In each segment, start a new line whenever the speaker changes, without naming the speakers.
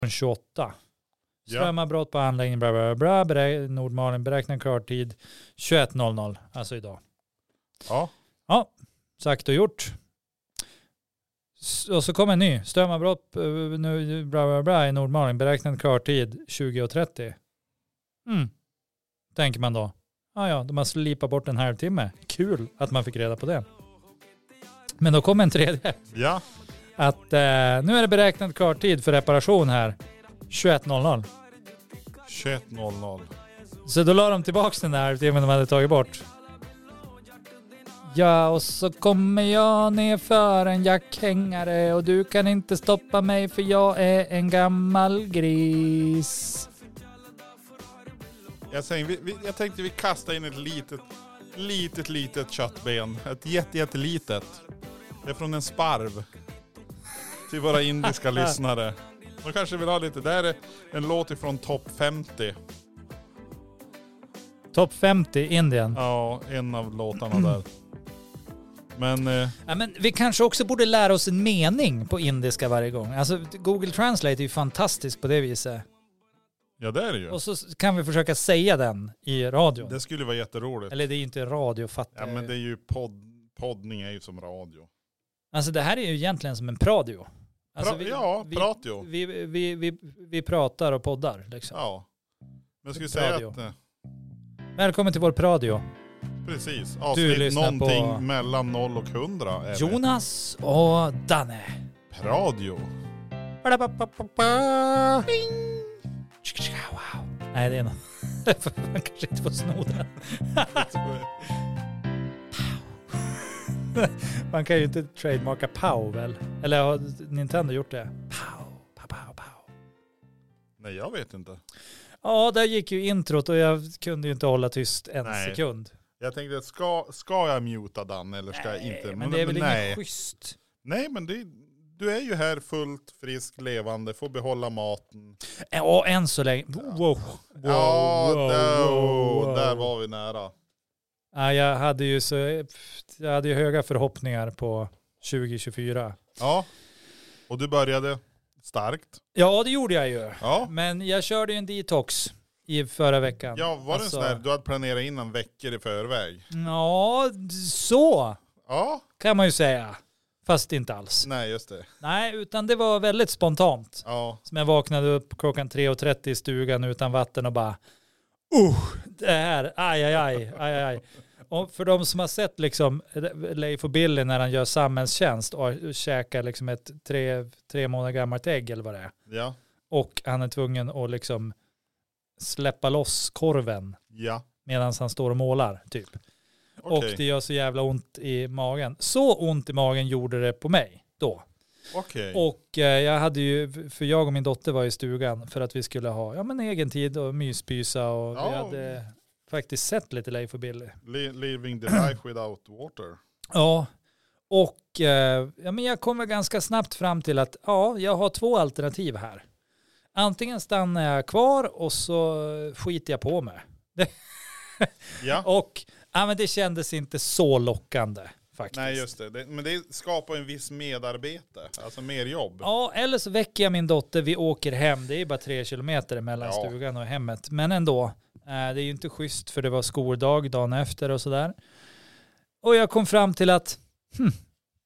från 28.
Ja.
Strömavbrott på anläggningen, bla bla bla, bla berä- Nordmalen beräknad klartid 21.00, alltså idag.
Ja.
Sagt och gjort. S- Och så kommer en ny, strömavbrott eh, nu, bla bla bla i Nordmalen, beräknad klartid 20.30. Mm, tänker man då. Ja, ja, de har slipat bort en halvtimme. Kul att man fick reda på det. Men då kom en tredje
Ja.
att eh, nu är det beräknad klartid för reparation här. 21.00.
21.00.
Så då la de tillbaka den där halvtimmen de hade tagit bort. Ja, och så kommer jag ner för en jackhängare och du kan inte stoppa mig för jag är en gammal gris.
Jag, säger, vi, vi, jag tänkte vi kastar in ett litet, litet, litet köttben. Ett jätte, jättelitet. Det är från en sparv. Till våra indiska lyssnare. De kanske vill ha lite. Det här är en låt ifrån Top 50.
Topp 50 Indien. Ja.
Ja, en av låtarna där. Men eh,
men vi kanske också borde lära oss en mening på indiska varje gång. Alltså Google Translate är ju fantastisk på det viset.
ja, det är det ju.
Och så kan vi försöka säga den i radion.
Det skulle vara jätteroligt.
Eller det är ju inte radio,
Typ. Ja,
fattar
men det är ju podd, poddning är ju som radio.
Alltså det här är ju egentligen som en pradio. Alltså,
Pra, ja, pratio.
vi, vi, vi, vi, vi pratar och poddar liksom.
Ja. Men jag skulle säga
Radio.
att, eh,
Välkommen till vår pradio.
precis, avsnitt
lyssnar på-
någonting mellan 0 och 100 är det.
Jonas och Danne.
Radio.
Wow. Nej det är nog... Man kanske inte får sno den. Man kan ju inte trademarka pow väl? Eller har Nintendo gjort det? Pow, pow, pow, pow.
Nej, jag vet inte.
Ja, där gick ju introt och jag kunde ju inte hålla tyst en
Nej.
sekund.
Jag tänkte, ska, ska jag muta Danne eller ska jag inte?
Men, det är väl
nej.
inget schysst.
nej, men det, du är ju här fullt, frisk, levande, får behålla maten.
Ja, Eh, än så länge. Wow. wow,
ja,
wow,
där,
wow, wow.
där var vi nära.
Ja, jag hade ju så, jag hade ju höga förhoppningar på 2024.
Ja, och du började starkt.
Ja, det gjorde jag ju.
Ja,
Men jag körde ju en detox i förra veckan.
ja var det en sån
Alltså-
där, du hade planerat in en veckor i förväg?
Ja, så
Ja,
kan man ju säga. Fast inte alls.
nej just det.
Nej, utan det var väldigt spontant.
Ja,
Som jag vaknade upp klockan 3.30 i stugan utan vatten och bara uh, det här, aj, aj, aj, aj, aj, aj. Och för de som har sett liksom Leif och Billy när han gör samhällstjänst och käkar liksom ett tre, tre månader gammalt ägg eller vad det är.
ja,
Och han är tvungen att liksom släppa loss korven
ja,
medan han står och målar typ.
okej.
Och det gör så jävla ont i magen. Så ont i magen gjorde det på mig då.
Okej,
Och eh, jag hade ju, för jag och min dotter var i stugan för att vi skulle ha ja, men egen tid och myspysa och vi
Ja.
hade faktiskt sett lite Leif och Billy.
Li- living the life without water.
Ja, och eh, ja, men jag kom väl ganska snabbt fram till att ja, jag har två alternativ här. Antingen stannar jag kvar och så eh, skiter jag på mig.
Ja,
Och ja, men det kändes inte så lockande faktiskt.
nej just det. det. Men det skapar en viss medarbete, alltså mer jobb.
Ja, eller så väcker jag min dotter, vi åker hem. Det är ju bara tre kilometer mellan
Ja.
stugan och hemmet. Men ändå, eh, det är ju inte schysst för det var skoldag dagen efter och sådär. Och jag kom fram till att hm,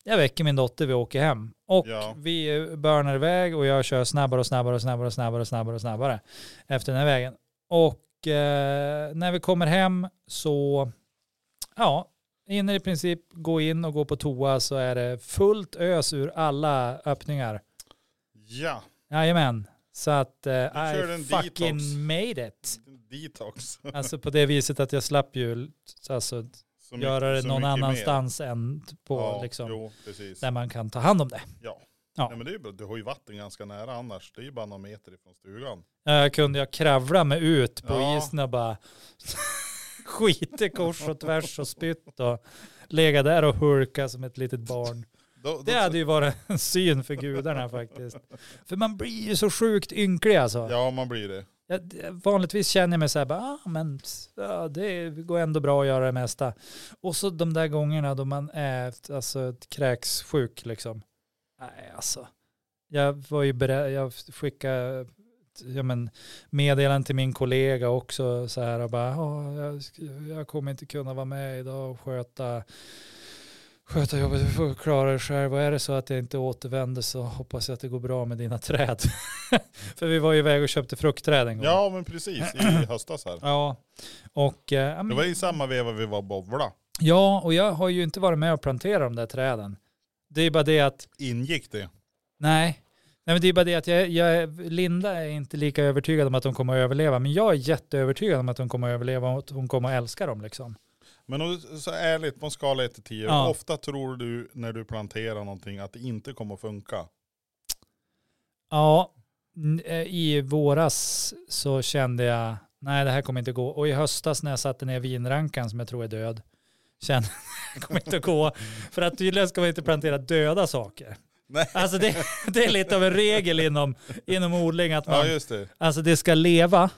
jag väcker min dotter, vi åker hem. Och
Ja.
vi eh, burnar iväg och jag kör snabbare och snabbare och snabbare och snabbare och snabbare och snabbare efter den här vägen. Och eh, när vi kommer hem så, ja, hinner i princip gå in och gå på toa så är det fullt ös ur alla öppningar.
Ja,
Jajamän. Så att eh,
körde en
I fucking
detox.
made it.
detox.
Alltså på det viset att jag slapp ju alltså,
Så mycket-
göra det
så
någon
mycket mer.
annanstans än på,
Ja,
liksom,
Jo, precis.
där man kan ta hand om det. ja.
Nej, men det är ju bra. Du har ju vatten ganska nära annars. Det är ju bara några meter ifrån stugan.
Eh, kunde jag kravla mig ut på
Ja.
isen och bara skiter kors och tvärs och spytt och lägga där och hurka som ett litet barn.
Då, då,
Det hade ju varit en syn för gudarna faktiskt. För man blir ju så sjukt ynklig alltså.
Ja, man blir det.
Jag, vanligtvis känner jag mig så här, bara, ah, men ja, det går ändå bra att göra det mesta. Och så de där gångerna då man är alltså, kräks sjuk liksom. Nej, alltså. jag var ju beredd, jag skickade ja, men, meddelanden till min kollega också så här och bara, "Ja, jag, sk- jag kommer inte kunna vara med idag och sköta, sköta jobbet, du får klara dig själv och är det så att jag inte återvänder så hoppas jag att det går bra med dina träd. För vi var ju iväg och köpte fruktträd en gång.
Ja men precis, i höstas här.
Ja, och, eh, ja, men-
Det var i samma veva vi var och bowla.
ja, och jag har ju inte varit med och planterat de där träden. Det är bara det att
Ingick det?
Nej. Nej, men det är bara det att jag, jag, Linda är inte lika övertygad om att de kommer att överleva, men jag är jätteövertygad om att de kommer att överleva och att hon kommer att älska dem. Liksom.
Men om du- så ärligt, på en skala 1 till 10,
Ja.
hur ofta tror du när du planterar någonting att det inte kommer att funka?
Ja, n- eh, i våras så kände jag, nej det här kommer inte gå. Och i höstas när jag satte ner vinrankan som jag tror är död, kände jag, det här kommer inte att gå. För att tydligen ska man inte plantera döda saker.
Nej.
Alltså det, det är lite av en regel inom, inom odling att
Ja
man,
just det.
alltså det ska leva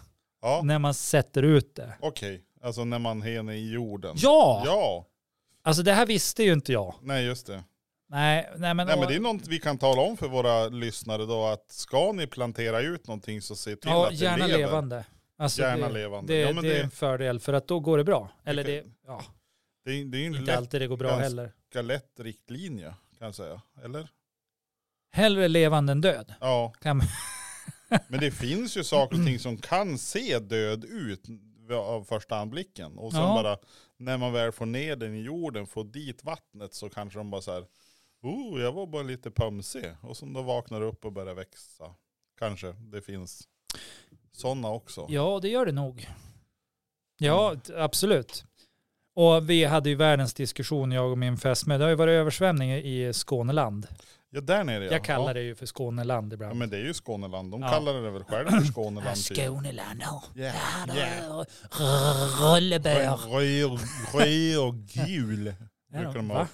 Ja,
när man sätter ut det.
okej. Alltså när man hänger i jorden.
Ja!
Ja,
Alltså det här visste ju inte jag.
nej just det.
Nej, nej men,
Nej men det är något vi kan tala om för våra lyssnare då att ska ni plantera ut någonting så se till
ja,
att det
gärna
lever.
levande. Alltså
Gärna
det,
levande.
Det,
ja, men
det
det,
är en fördel för att då går det bra. Eller det, ja,
det, är- det är ju en
inte alltid det går bra
ganska-
heller.
lika lätt riktlinje kan jag säga. Eller?
Hellre levande än död.
Ja.
Kan man-
Men det finns ju saker och ting som kan se död ut av första anblicken. Och sen
Ja.
bara när man väl får ner den i jorden, får dit vattnet så kanske de bara så här, oh jag var bara lite pömsig. Och som då vaknar upp och börjar växa. Kanske det finns sådana också.
Ja, det gör det nog. Ja,
Mm.
t- absolut. Och vi hade ju världens diskussion, jag och min fästmö. Det har ju varit översvämning i Skåneland.
Ja där nere
Jag kallar
ja.
det ju för Skåneland
Ja
ibland.
men det är ju Skåneland. De
Ja.
kallar det väl själv för Skåneland. typ.
Skåneland, ja.
Yeah. Yeah.
Rullebär.
Röd, röd och gul brukar de ha.
Va?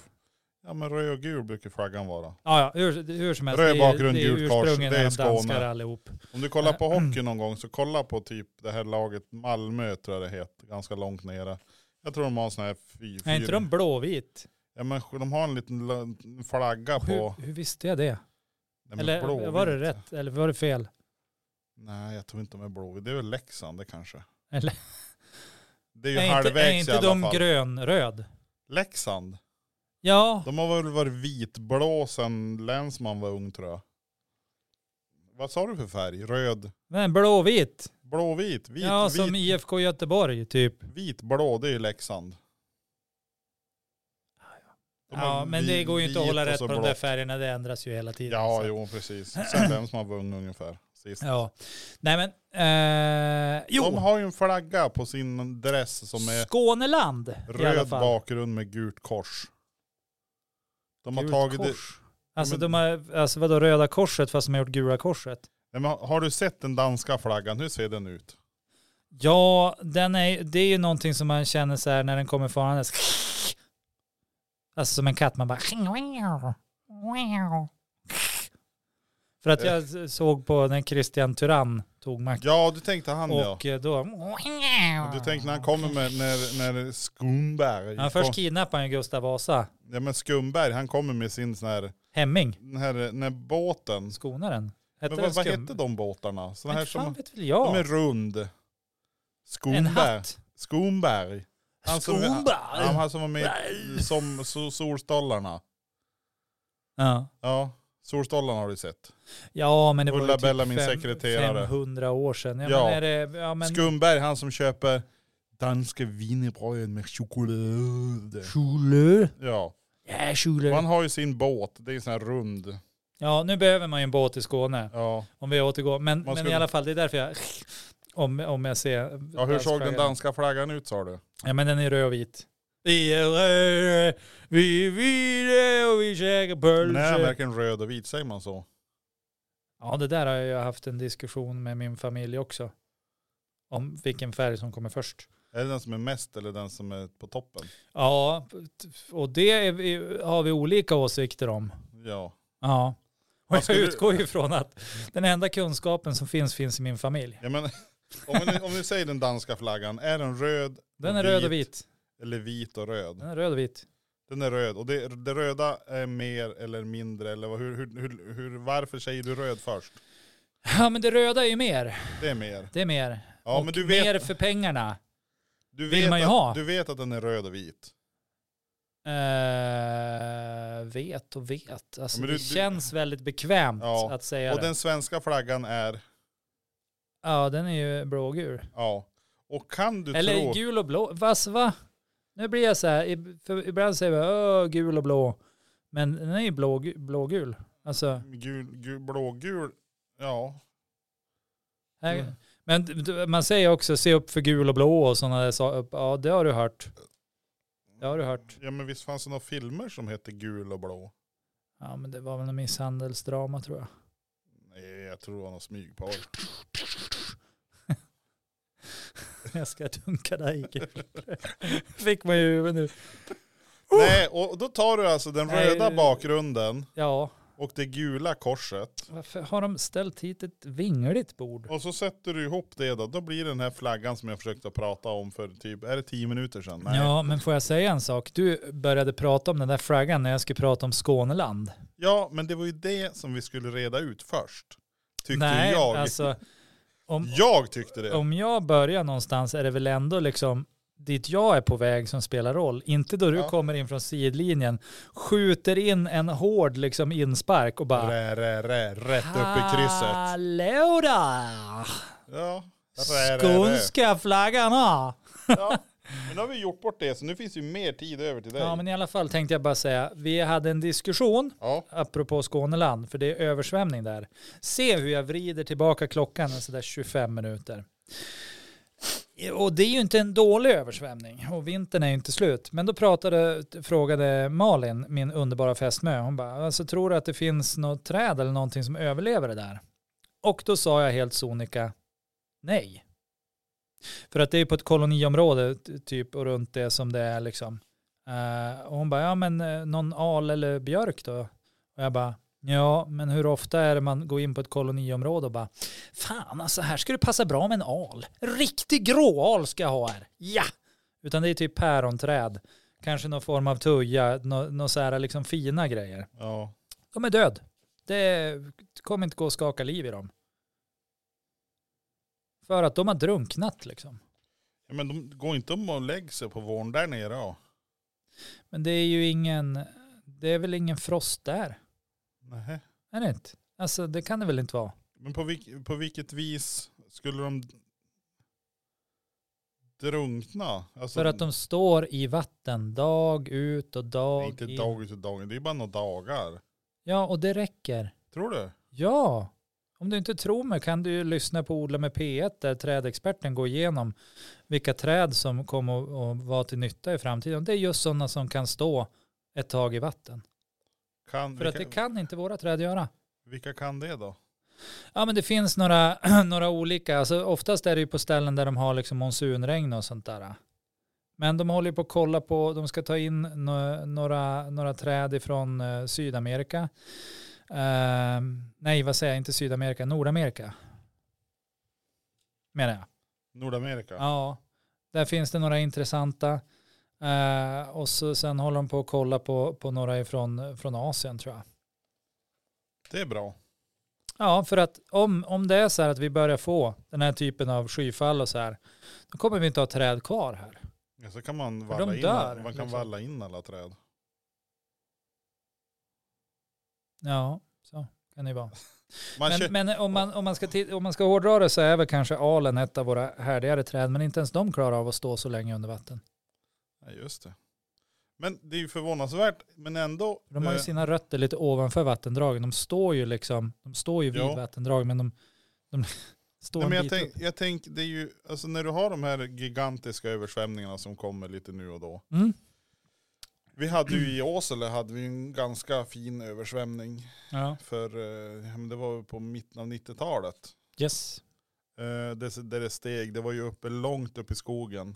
Ja men röd och gul brukar flaggan vara.
Ja, ja hur, hur som helst.
Röd
det är-
bakgrund,
det är
gult kors,
ursprungen
det är
när de danskar
Skåne.
allihop.
Om du kollar på
Äh, mm.
hockey någon gång så kolla på typ det här laget Malmö tror jag det heter, ganska långt nere. Jag tror de har en sån här fy,
Är inte
fyra-
de blåvit?
ja, men de har en liten la- flagga på.
Hur, hur visste jag det?
Nej, men
Eller
blåvit.
var det rätt? Eller var det fel?
Nej jag tror inte de är blåvit. Det är väl Leksand det kanske.
Eller?
Det är ju
Är inte, är
halvvägs i
inte
alla
de
fall.
grönröd?
Leksand.
Ja,
De har väl varit vitblå sedan länsman var ung tror jag. Vad sa du för färg? Röd?
men blåvit.
Blåvit? Vit?
ja,
vit,
som IFK Göteborg typ.
Vit blå, det är ju Leksand. De har
Ja, men det
vi-
går ju inte att
vit
hålla
och
rätt
så
på de
blått.
där färgerna. Det ändras ju hela tiden.
Ja,
så.
jo precis. Sen vem som har vunnit ungefär sist.
ja. Nej men, eh,
De
jo.
har ju en flagga på sin dress som är
Skåneland i alla
röd
fall.
bakgrund med gult kors. De har
Gult
tagit det.
kors. Alltså,
men-
de har, alltså vadå röda korset fast de har gjort gula korset?
Nej, men har du sett den danska flaggan? Hur ser den ut?
Ja, den är, det är ju någonting som man känner så här när den kommer farandes. Alltså som en katt, man bara... För att jag såg på när Christian Tyrann tog makten
Ja, du tänkte han
och eh, då...
ja. Du tänkte när han kommer med, när, när Skumberg.
Ja, först kidnappade han Gustav Vasa,
ja, men Skumberg, han kommer med sin sån här,
Hemming,
den här, när båten.
skonaren. Hette
Men vad,
den
vad
skum?
hette de båtarna? Såna här
Men
som,
fan vet väl
De är
jag?
rund.
En
Skumberg.
hatt?
Skumberg. Han som- Ja,
Skonberg!
han som var med i som, so, Solstollarna.
Ja.
Ja, Solstollarna har du sett.
ja, men det var
Ulla
ju typ
Bella, min
fem-
sekreterare.
500 år sedan. Ja,
Ja.
Men är det, ja, men
Skumberg, han som köper danska wienerbröd med choklad.
Schule.
Ja,
Ja,
och han
Schule.
har ju sin båt. Det är en sån här rund.
Ja, nu behöver man ju en båt i Skåne.
Ja,
Om vi återgår. Men, men
skulle-
i alla fall, det är därför jag... Om, om jag ser...
ja hur såg den
dansflaggan.
danska flaggan ut sa du?
Ja, men den är röd och vit. Vi är röda, vi är vita och vi käkar
Nej,
pölser.
verkligen röd och vit, säger man så?
Ja, det där har jag haft en diskussion med min familj också. Om vilken färg som kommer först.
Är det den som är mest eller den som är på toppen?
Ja, och det är vi, har vi olika åsikter om.
Ja.
Ja. Och
Vad
jag
skulle-
utgår ju från att den enda kunskapen som finns finns i min familj.
ja men, om, vi, om vi säger den danska flaggan, är den röd
Den är röd och vit.
eller vit och röd?
Den är röd och vit.
Den är röd och det, det röda är mer eller mindre eller vad- hur, hur, hur, hur, varför säger du röd först?
Ja men det röda är ju mer.
Det är mer.
Det är mer.
Ja
och
men du vet,
mer för pengarna.
du,
vill
vet
man ju
att,
ha.
du vet att den är röd och vit.
Eh, vet och vet. Alltså,
Ja, men
det
du- du-
känns väldigt bekvämt
Ja,
att säga
Och
det.
den svenska flaggan är,
Ja den är ju blågul.
ja. Och kan du
Eller
tro,
gul och blå. Vas, va? Nu blir jag så här, ib- för ibland säger vi "Åh, gul och blå. Men den är ju blå, blågul. Alltså,
gul, gul, blågul, ja.
här,
Mm.
Men d- d- man säger också se upp för gul och blå och sådana där saker. Ja det har du hört. Det har du hört.
Ja men visst fanns det några filmer som hette gul och blå?
Ja men det var väl en misshandelsdrama tror jag.
Nej jag tror det var någon smygpar.
Jag ska dunka dig i gul. Fick man ju nu.
Nej och då tar du alltså den
Nej,
röda
det-
bakgrunden
Ja,
och det gula korset.
varför har de ställt hit ett vingligt bord?
Och så sätter du ihop det då. Då blir den här flaggan som jag försökte prata om för typ, är det tio minuter sedan? Nej.
Ja men får jag säga en sak? Du började prata om den där flaggan när jag skulle prata om Skåneland.
Ja, men det var ju det som vi skulle reda ut först. Tyckte
Nej,
jag.
alltså om,
Jag tyckte det.
om jag börjar någonstans är det väl ändå liksom dit jag är på väg som spelar roll. Inte då du
Ja.
kommer in från sidlinjen, skjuter in en hård liksom inspark och bara
Rä, rä, rä, rätt upp i krysset.
Hallå där!
Ja. Rä, rä, rä.
Skånska flaggan här!
Ja. Men nu har vi gjort bort det, så nu finns ju mer tid över till dig.
Ja men i alla fall tänkte jag bara säga, vi hade en diskussion
ja.
apropå Skåneland, för det är översvämning där. Se hur jag vrider tillbaka klockan en sådär 25 minuter. Och det är ju inte en dålig översvämning och vintern är ju inte slut. Men då pratade, frågade Malin, min underbara fästmö, hon bara, alltså, tror du att det finns något träd eller någonting som överlever det där? Och då sa jag helt sonika, nej. För att det är på ett koloniområde t- typ och runt det som det är liksom. Eh, och hon bara, ja men eh, någon al eller björk då? Och jag bara, ja, men hur ofta är det man går in på ett koloniområde och bara, fan alltså här skulle det passa bra med en al. Riktig gråal ska jag ha här. Ja! Utan det är typ päronträd, kanske någon form av tuja, nå- nå så här liksom fina grejer.
ja.
De är död. Det kommer inte gå att skaka liv i dem. För att de har drunknat liksom.
Ja, Men de går inte om och lägger sig på våren där nere då?
Men det är ju ingen, det är väl ingen frost där?
Nej.
Är det inte? Alltså det kan det väl inte vara?
Men på, vilk, på vilket vis skulle de drunkna? Alltså,
För att de står i vatten dag ut och dag
Inte
in.
dag ut och dag in, det är bara några dagar.
Ja, och det räcker.
Tror du?
Ja, om du inte tror mig kan du ju lyssna på Odla med P1 där trädexperten går igenom vilka träd som kommer att- att vara till nytta i framtiden. Det är just sådana som kan stå ett tag i vatten.
Kan,
För att
vilka,
det kan inte våra träd göra.
vilka kan det då?
Ja men det finns några, några olika, alltså oftast är det ju på ställen där de har liksom monsunregn och sånt där. Men de håller ju på att kolla på, de ska ta in nå- några, några träd ifrån eh, Sydamerika. Ehm, nej vad säger jag, inte Sydamerika, Nordamerika. Menar jag.
Nordamerika?
Ja, där finns det några intressanta. Eh, och så, sen håller de på att kolla på, på några ifrån från Asien tror jag.
Det är bra.
Ja, för att om, om det är så här att vi börjar få den här typen av skyfall och så här, då kommer vi inte ha träd kvar här.
Ja, Så kan man
För
valla,
de
in,
dör,
man kan
liksom.
valla in alla träd.
Ja, så kan det ju vara.
Man kö-
Men, men om, man, om, man ska ti- om man ska hårdra det så är väl kanske alen ett av våra härdigare träd, men inte ens de klarar av att stå så länge under vatten.
ja, just det. Men det är ju förvånansvärt, men ändå.
För De har ju
eh,
sina rötter lite ovanför vattendragen. De står ju liksom, de står ju vid
Ja.
vattendrag, men de, de står
nej,
en
men jag,
bit
tänk,
upp.
jag tänk, det är ju, alltså när du har de här gigantiska översvämningarna som kommer lite nu och då.
Mm.
Vi hade ju i Åsele hade vi en ganska fin översvämning
Ja.
för, eh, ja, men det var på mitten av 90-talet.
Yes.
Eh, det, där det steg, det var ju uppe långt upp i skogen.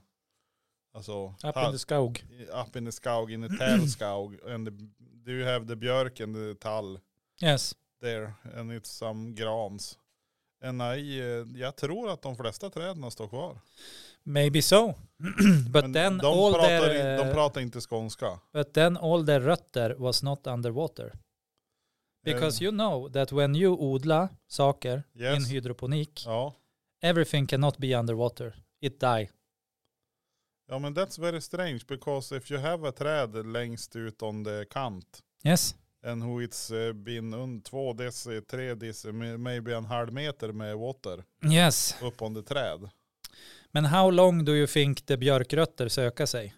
Alltså,
Up
ta-
in the skog.
i- up in the skog, in the tall skog. And the, du hävde björken, the tall
Yes.
there, and it's some grans. NAI, eh, jag tror att de flesta träden står kvar.
Maybe so. but, then
de,
all
pratar,
their,
i- de
eh,
pratar inte skånska.
but then all their rötter was not underwater. Because
Eh,
you know that when you odla saker
yes.
in hydroponik,
Ja.
everything cannot be underwater. It die.
ja, men that's very strange because if you have a träd längst ut on the kant
Yes.
and who it's eh, been un, två deci, tre deci, may- maybe en halv meter med water
Yes.
upp on the träd.
Men how long do you think the björkrötter söka sig?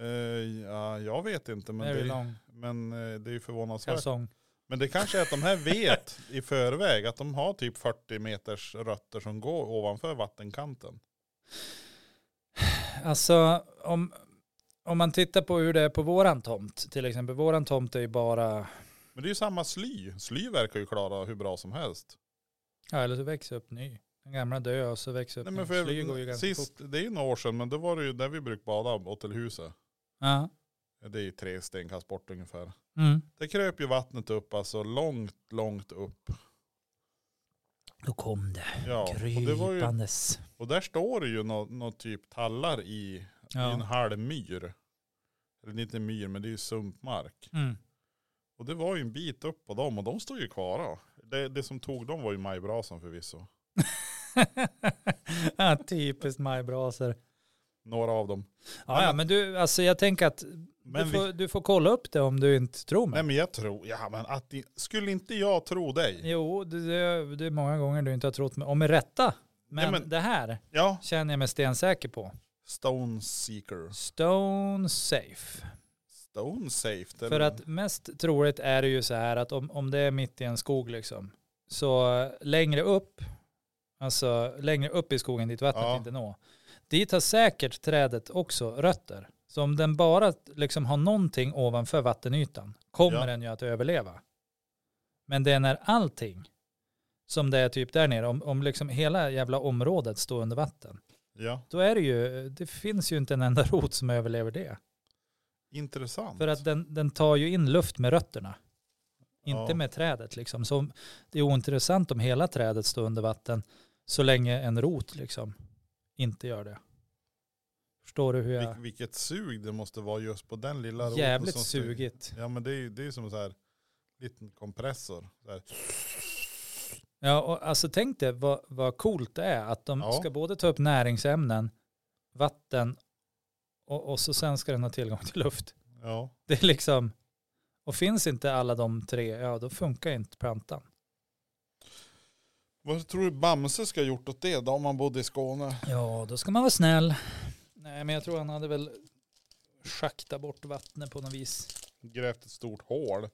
Eh, ja, jag vet inte men,
Very
det,
long. Alltså-
men eh, det är ju förvånansvärt.
Kalsong.
Men det kanske är att de här vet i förväg att de har typ 40 meters rötter som går ovanför vattenkanten.
Alltså om, om man tittar på hur det är på våran tomt, till exempel. Våran tomt är ju bara,
Men det är ju samma sly. Sly verkar ju klara hur bra som helst.
ja eller så växer upp ny. Den gamla dör och så växer upp
Nej, men
ny. Sly går ju
för
ganska fort.
sist, det är ju några år sedan, men då var det ju där vi brukade bada, Åtelhuset.
Ja.
Det är ju tre stenkast bort ungefär.
Mm.
Det kröp ju vattnet upp, alltså långt, långt upp.
Då kom det,
Ja, och, det var ju,
krypandes.
och där står det ju någon nå typ tallar i, i en
Ja.
halv myr. Eller inte myr, men det är ju sumpmark.
Mm.
Och det var ju en bit upp på dem och de stod ju kvar. Då. Det, det som tog dem var ju majbrasan förvisso.
ja, typiskt majbrasor.
Några av dem.
Ja, ja, men du, alltså jag tänker att
Men,
du,
vi,
får, du får kolla upp det om du inte tror mig.
nej, men jag tror, ja men att ni, skulle inte jag tro dig?
Jo, det, det, det är många gånger du inte har trott mig, och med rätta. Men,
Ja, men-
det här
Ja,
känner jag mig stensäker på.
Stone Seeker.
Stone safe.
Stone Safe. det är
För
väl-
att mest troligt är det ju så här att om, om det är mitt i en skog liksom, så eh, längre upp, alltså längre upp i skogen dit vattnet
Ja.
inte når, dit har säkert trädet också rötter. Så om den bara liksom har någonting ovanför vattenytan kommer
Ja.
den ju att överleva. Men det är när allting som det är typ där nere, om, om liksom hela jävla området står under vatten,
Ja,
då är det ju, det finns ju inte en enda rot som överlever det.
intressant.
För att den, den tar ju in luft med rötterna. Inte
Ja.
med trädet liksom. Så det är ointressant om hela trädet står under vatten så länge en rot liksom inte gör det. Förstår du hur jag...
Vil, vilket sug det måste vara just på den lilla roten.
Jävligt
som styr.
sugigt.
Ja men det är ju det är som en så här liten kompressor. Så här.
Ja, och alltså tänk dig vad, vad coolt det är att de
Ja.
ska både ta upp näringsämnen, vatten och, och så sen ska den ha tillgång till luft.
Ja.
Det är liksom... Och finns inte alla de tre, ja då funkar inte plantan.
Vad tror du Bamse ska ha gjort åt det då om han bodde i Skåne?
Ja, då ska man vara snäll. Nej, men jag tror han hade väl schaktat bort vattnet på något vis.
Grävt ett stort hål.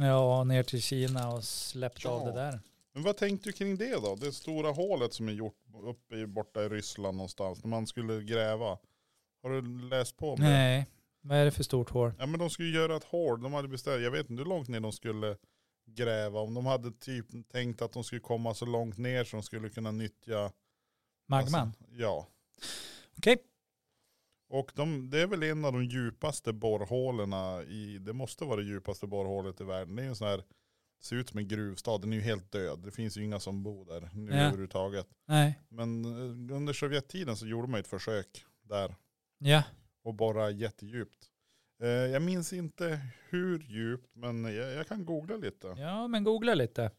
Ja, ner till Kina och släppt
Ja.
av det där.
Men vad tänkte du kring det då? Det stora hålet som är gjort uppe i, borta i Ryssland någonstans när man skulle gräva. Har du läst på om det?
Nej, vad är det för stort hår?
Ja men de skulle göra ett hål. De hade beställt, jag vet inte hur långt ner de skulle gräva. Om de hade typ tänkt att de skulle komma så långt ner så de skulle kunna nyttja.
Magman?
Alltså, ja.
Okej.
Och de, det är väl en av de djupaste borrhålen i, det måste vara det djupaste borrhålet i världen. Det är en sån här, ser ut som en gruvstad, den är ju helt död. Det finns ju inga som bor där nu
Ja.
överhuvudtaget.
Nej.
Men eh, under Sovjettiden så gjorde man ju ett försök där
Ja.
och borra jättedjupt. Eh, Jag minns inte hur djupt, men jag, jag kan googla lite.
ja, men googla lite.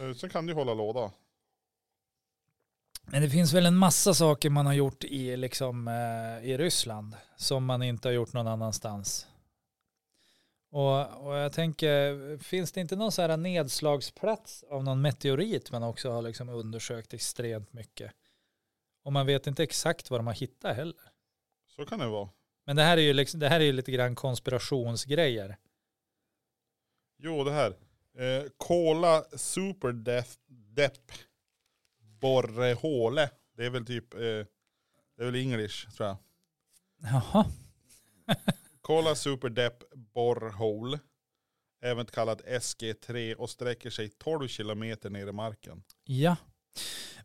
Eh, Sen kan du hålla låda.
Men det finns väl en massa saker man har gjort i, liksom, eh, i Ryssland som man inte har gjort någon annanstans. Och, och jag tänker, finns det inte någon så här nedslagsplats av någon meteorit man också har liksom undersökt extremt mycket? Och man vet inte exakt vad de har hittat heller.
Så kan det vara.
Men det här är ju, liksom, det här är ju lite grann konspirationsgrejer.
Jo, det här. Eh, Kola Super Death Depp Borrehåle. Det är väl typ, eh, det är väl English tror jag.
Jaha,
Kola Super Depp Borrhole. Även kallat SG3 och sträcker sig 12 kilometer ner i marken.
ja.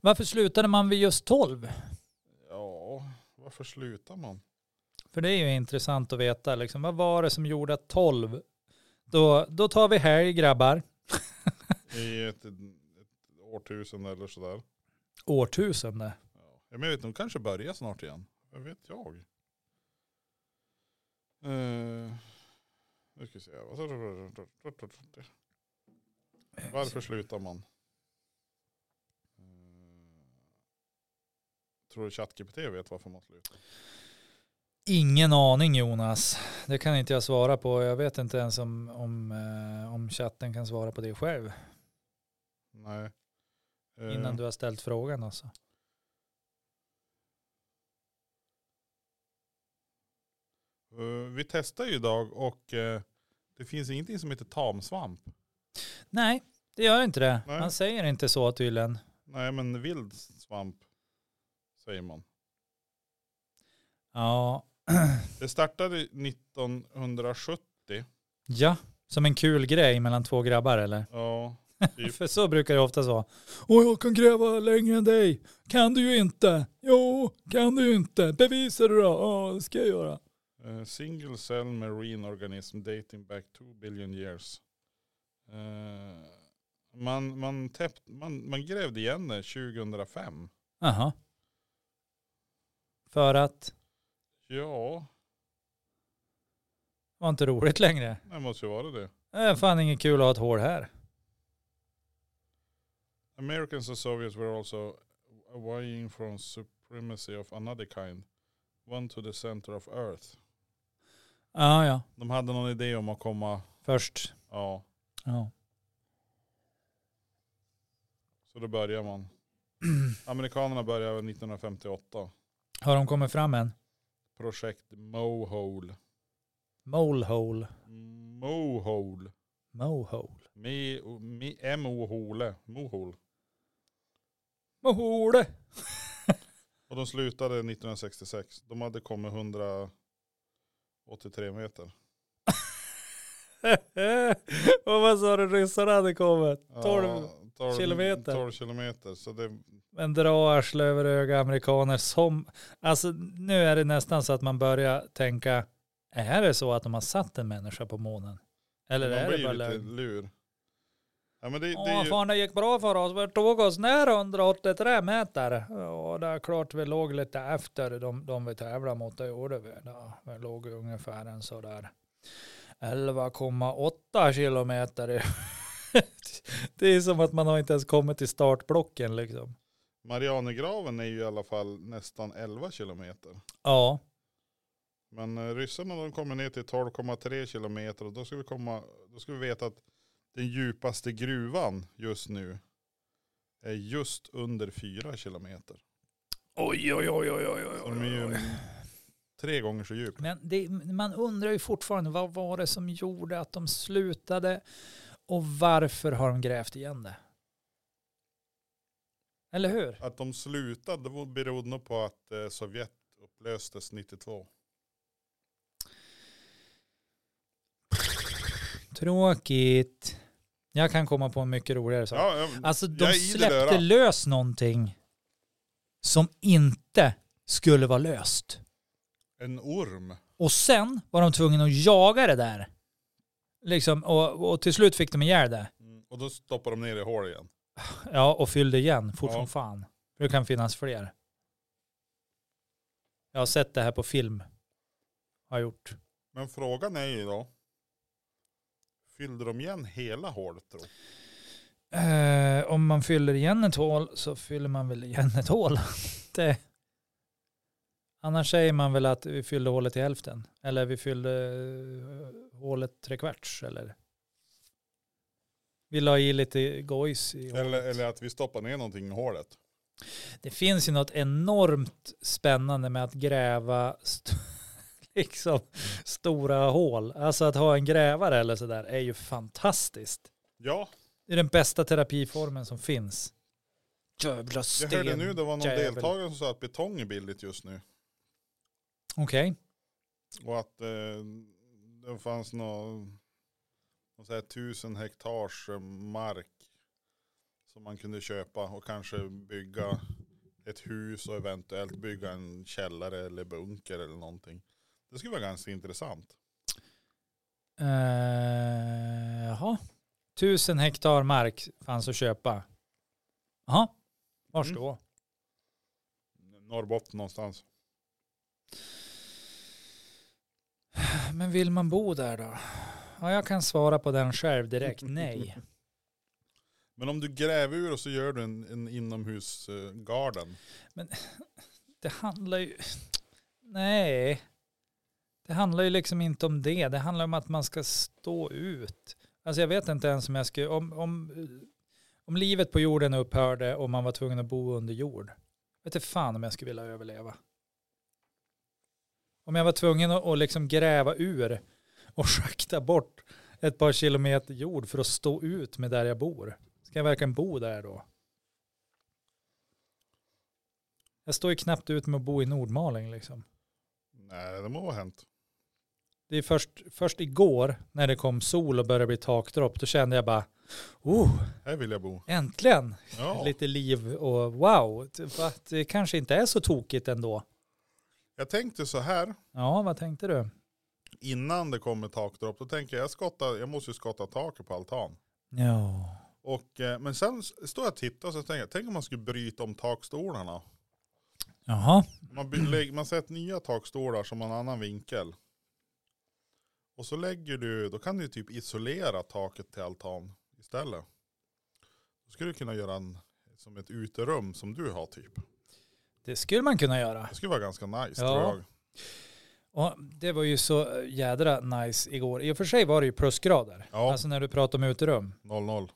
Varför slutade man vid just 12?
Ja, varför slutar man?
För det är ju intressant att veta, liksom, vad var det som gjorde att 12, då, då tar vi helg grabbar.
I ett, ett årtusende eller sådär.
Årtusende.
Ja. Men jag vet, de kanske börjar snart igen. Vad vet jag? Eh, nu ska vi se. Varför slutar man? Eh, Tror du ChatGPT vet varför man slutar?
Ingen aning Jonas. Det kan inte jag svara på. Jag vet inte ens om, om, eh, om chatten kan svara på det själv.
Nej. Eh,
Innan du har ställt frågan alltså.
eh, Vi testar ju idag och eh, det finns ingenting som heter tamsvamp.
Nej, det gör inte det.
Nej.
Han säger inte så tydligen.
Nej men vild svamp säger man.
Ja,
Det startade 1970.
ja. som en kul grej mellan två grabbar eller?
Ja, Typ.
För så brukar det ofta vara. Åh, jag kan gräva längre än dig. Kan du ju inte. Jo, kan du ju inte. Bevisa det då. Ja, det ska jag göra.
eh, single cell marine organism dating back 2 billion years. Eh, man, man, täppt, man, man grävde igen det 2005.
Jaha. För att
Ja,
det var inte roligt längre.
det måste ju vara det.
Det är fan inget kul att ha ett hål här.
Americans and Soviets were also vying for supremacy of another kind. One to the center of earth.
Ja, ja.
De hade någon idé om att komma,
Först.
ja,
Ja.
så då börjar man. Amerikanerna började 1958.
Har de kommit fram än?
Projekt Mohole.
Molehole.
Mohole.
Mohole.
Mi- mi- M-O-Hole. Mohole.
Mohole.
Och de slutade 1966. De hade kommit 183 meter.
Och vad sa du ryssarna hade kommit?
Ja,
12
12
kilometer.
12 kilometer. Så det,
Men dra arsle över öga amerikaner som, alltså nu är det nästan så att man börjar tänka, är det så att de har satt en människa på månen? Eller
man
är
blir
det bara
ju lite
lögn?
lur. Ja, men det, det är
Åh
ju,
fan det gick bra för oss, vi tog oss ner 183 meter. Ja det är klart vi låg lite efter de, de vi tävlade mot, det gjorde vi. Ja, vi låg ungefär en sådär 11,8 kilometer. det är som att man har inte ens kommit till startblocken liksom.
Marianergraven är ju i alla fall nästan 11 kilometer.
Ja.
Men eh, ryssarna de kommer ner till 12,3 kilometer och då ska, vi komma, då ska vi veta att den djupaste gruvan just nu är just under 4 kilometer.
Oj, oj, oj, oj, oj, oj.
Så de är ju tre gånger så djup.
Men det, man undrar ju fortfarande, vad var det som gjorde att de slutade och varför har de grävt igen det? Eller hur?
Att de slutade det berodde nog på att eh, Sovjet upplöstes 92.
Tråkigt. Jag kan komma på en mycket roligare sak.
Ja, ja,
alltså
jag
de
är i det där.
släppte lös någonting som inte skulle vara löst.
En orm.
Och sen var de tvungna att jaga det där. Liksom, och, och till slut fick de ihjäl det.
Mm, Och då stoppar de ner i hål igen.
Ja, och fyllde igen fort
Ja.
som fan. För det kan finnas fler. Jag har sett det här på film. Har jag gjort.
Men frågan är ju då, fyllde de igen hela hålet tror
Eh, om man fyller igen ett hål så fyller man väl igen ett hål. det. Annars säger man väl att vi fyllde hålet till hälften. Eller vi fyllde eh, hålet tre kvarts. Eller? Vi la i lite gojs i hålet.
Eller, eller att vi stoppar ner någonting i hålet.
Det finns ju något enormt spännande med att gräva st- liksom stora hål. Alltså att ha en grävare eller sådär är ju fantastiskt.
Ja,
Det är den bästa terapiformen som finns. Jävla
jag
sten.
hörde nu det var någon
jävel.
deltagare som sa att betong är billigt just nu.
Okej.
Och att eh, det fanns någon, någon så här tusen hektars eh, mark som man kunde köpa och kanske bygga ett hus och eventuellt bygga en källare eller bunker eller någonting. Det skulle vara ganska intressant.
Eh, Jaha. Tusen hektar mark fanns att köpa. Jaha, vars
Mm.
då?
Norrbotten någonstans.
Men vill man bo där då? Ja, jag kan svara på den själv direkt. Nej.
Men om du gräver ur och så gör du en, en inomhusgarden.
Det handlar ju... Nej. Det handlar ju liksom inte om det. Det handlar om att man ska stå ut. Alltså jag vet inte ens om jag skulle... Om, om, om livet på jorden upphörde och man var tvungen att bo under jord. Vet inte fan om jag skulle vilja överleva. Om jag var tvungen att, att liksom gräva ur och schakta bort ett par kilometer jord för att stå ut med där jag bor. Ska jag verkligen bo där då? Jag står ju knappt ut med att bo i Nordmaling liksom.
Nej, det må ha hänt.
Det är först, först igår när det kom sol och började bli takdropp, då kände jag bara, oh,
Här vill jag bo.
äntligen
Ja.
lite liv och wow, det- va, det kanske inte är så tokigt ändå.
Jag tänkte så här,
Ja, vad tänkte du?
innan det kommer takdropp, då tänker jag jag, skottar, jag måste ju skotta taket på altan.
Ja,
Och, eh, men sen s- står jag och tittar och så tänker jag, tänk om man skulle bryta om takstolarna.
jaha,
Man, by-
Mm.
lägg, man sätter nya takstolar som har en annan vinkel. Och så lägger du, då kan du typ isolera taket till altan istället. Då skulle du kunna göra en, som ett uterum som du har typ.
det skulle man kunna göra.
Det skulle vara ganska nice
Ja.
tror jag.
Och det var ju så jädra nice igår. I och för sig var det ju plusgrader.
Ja.
Alltså när du pratar om uterum.
0-0.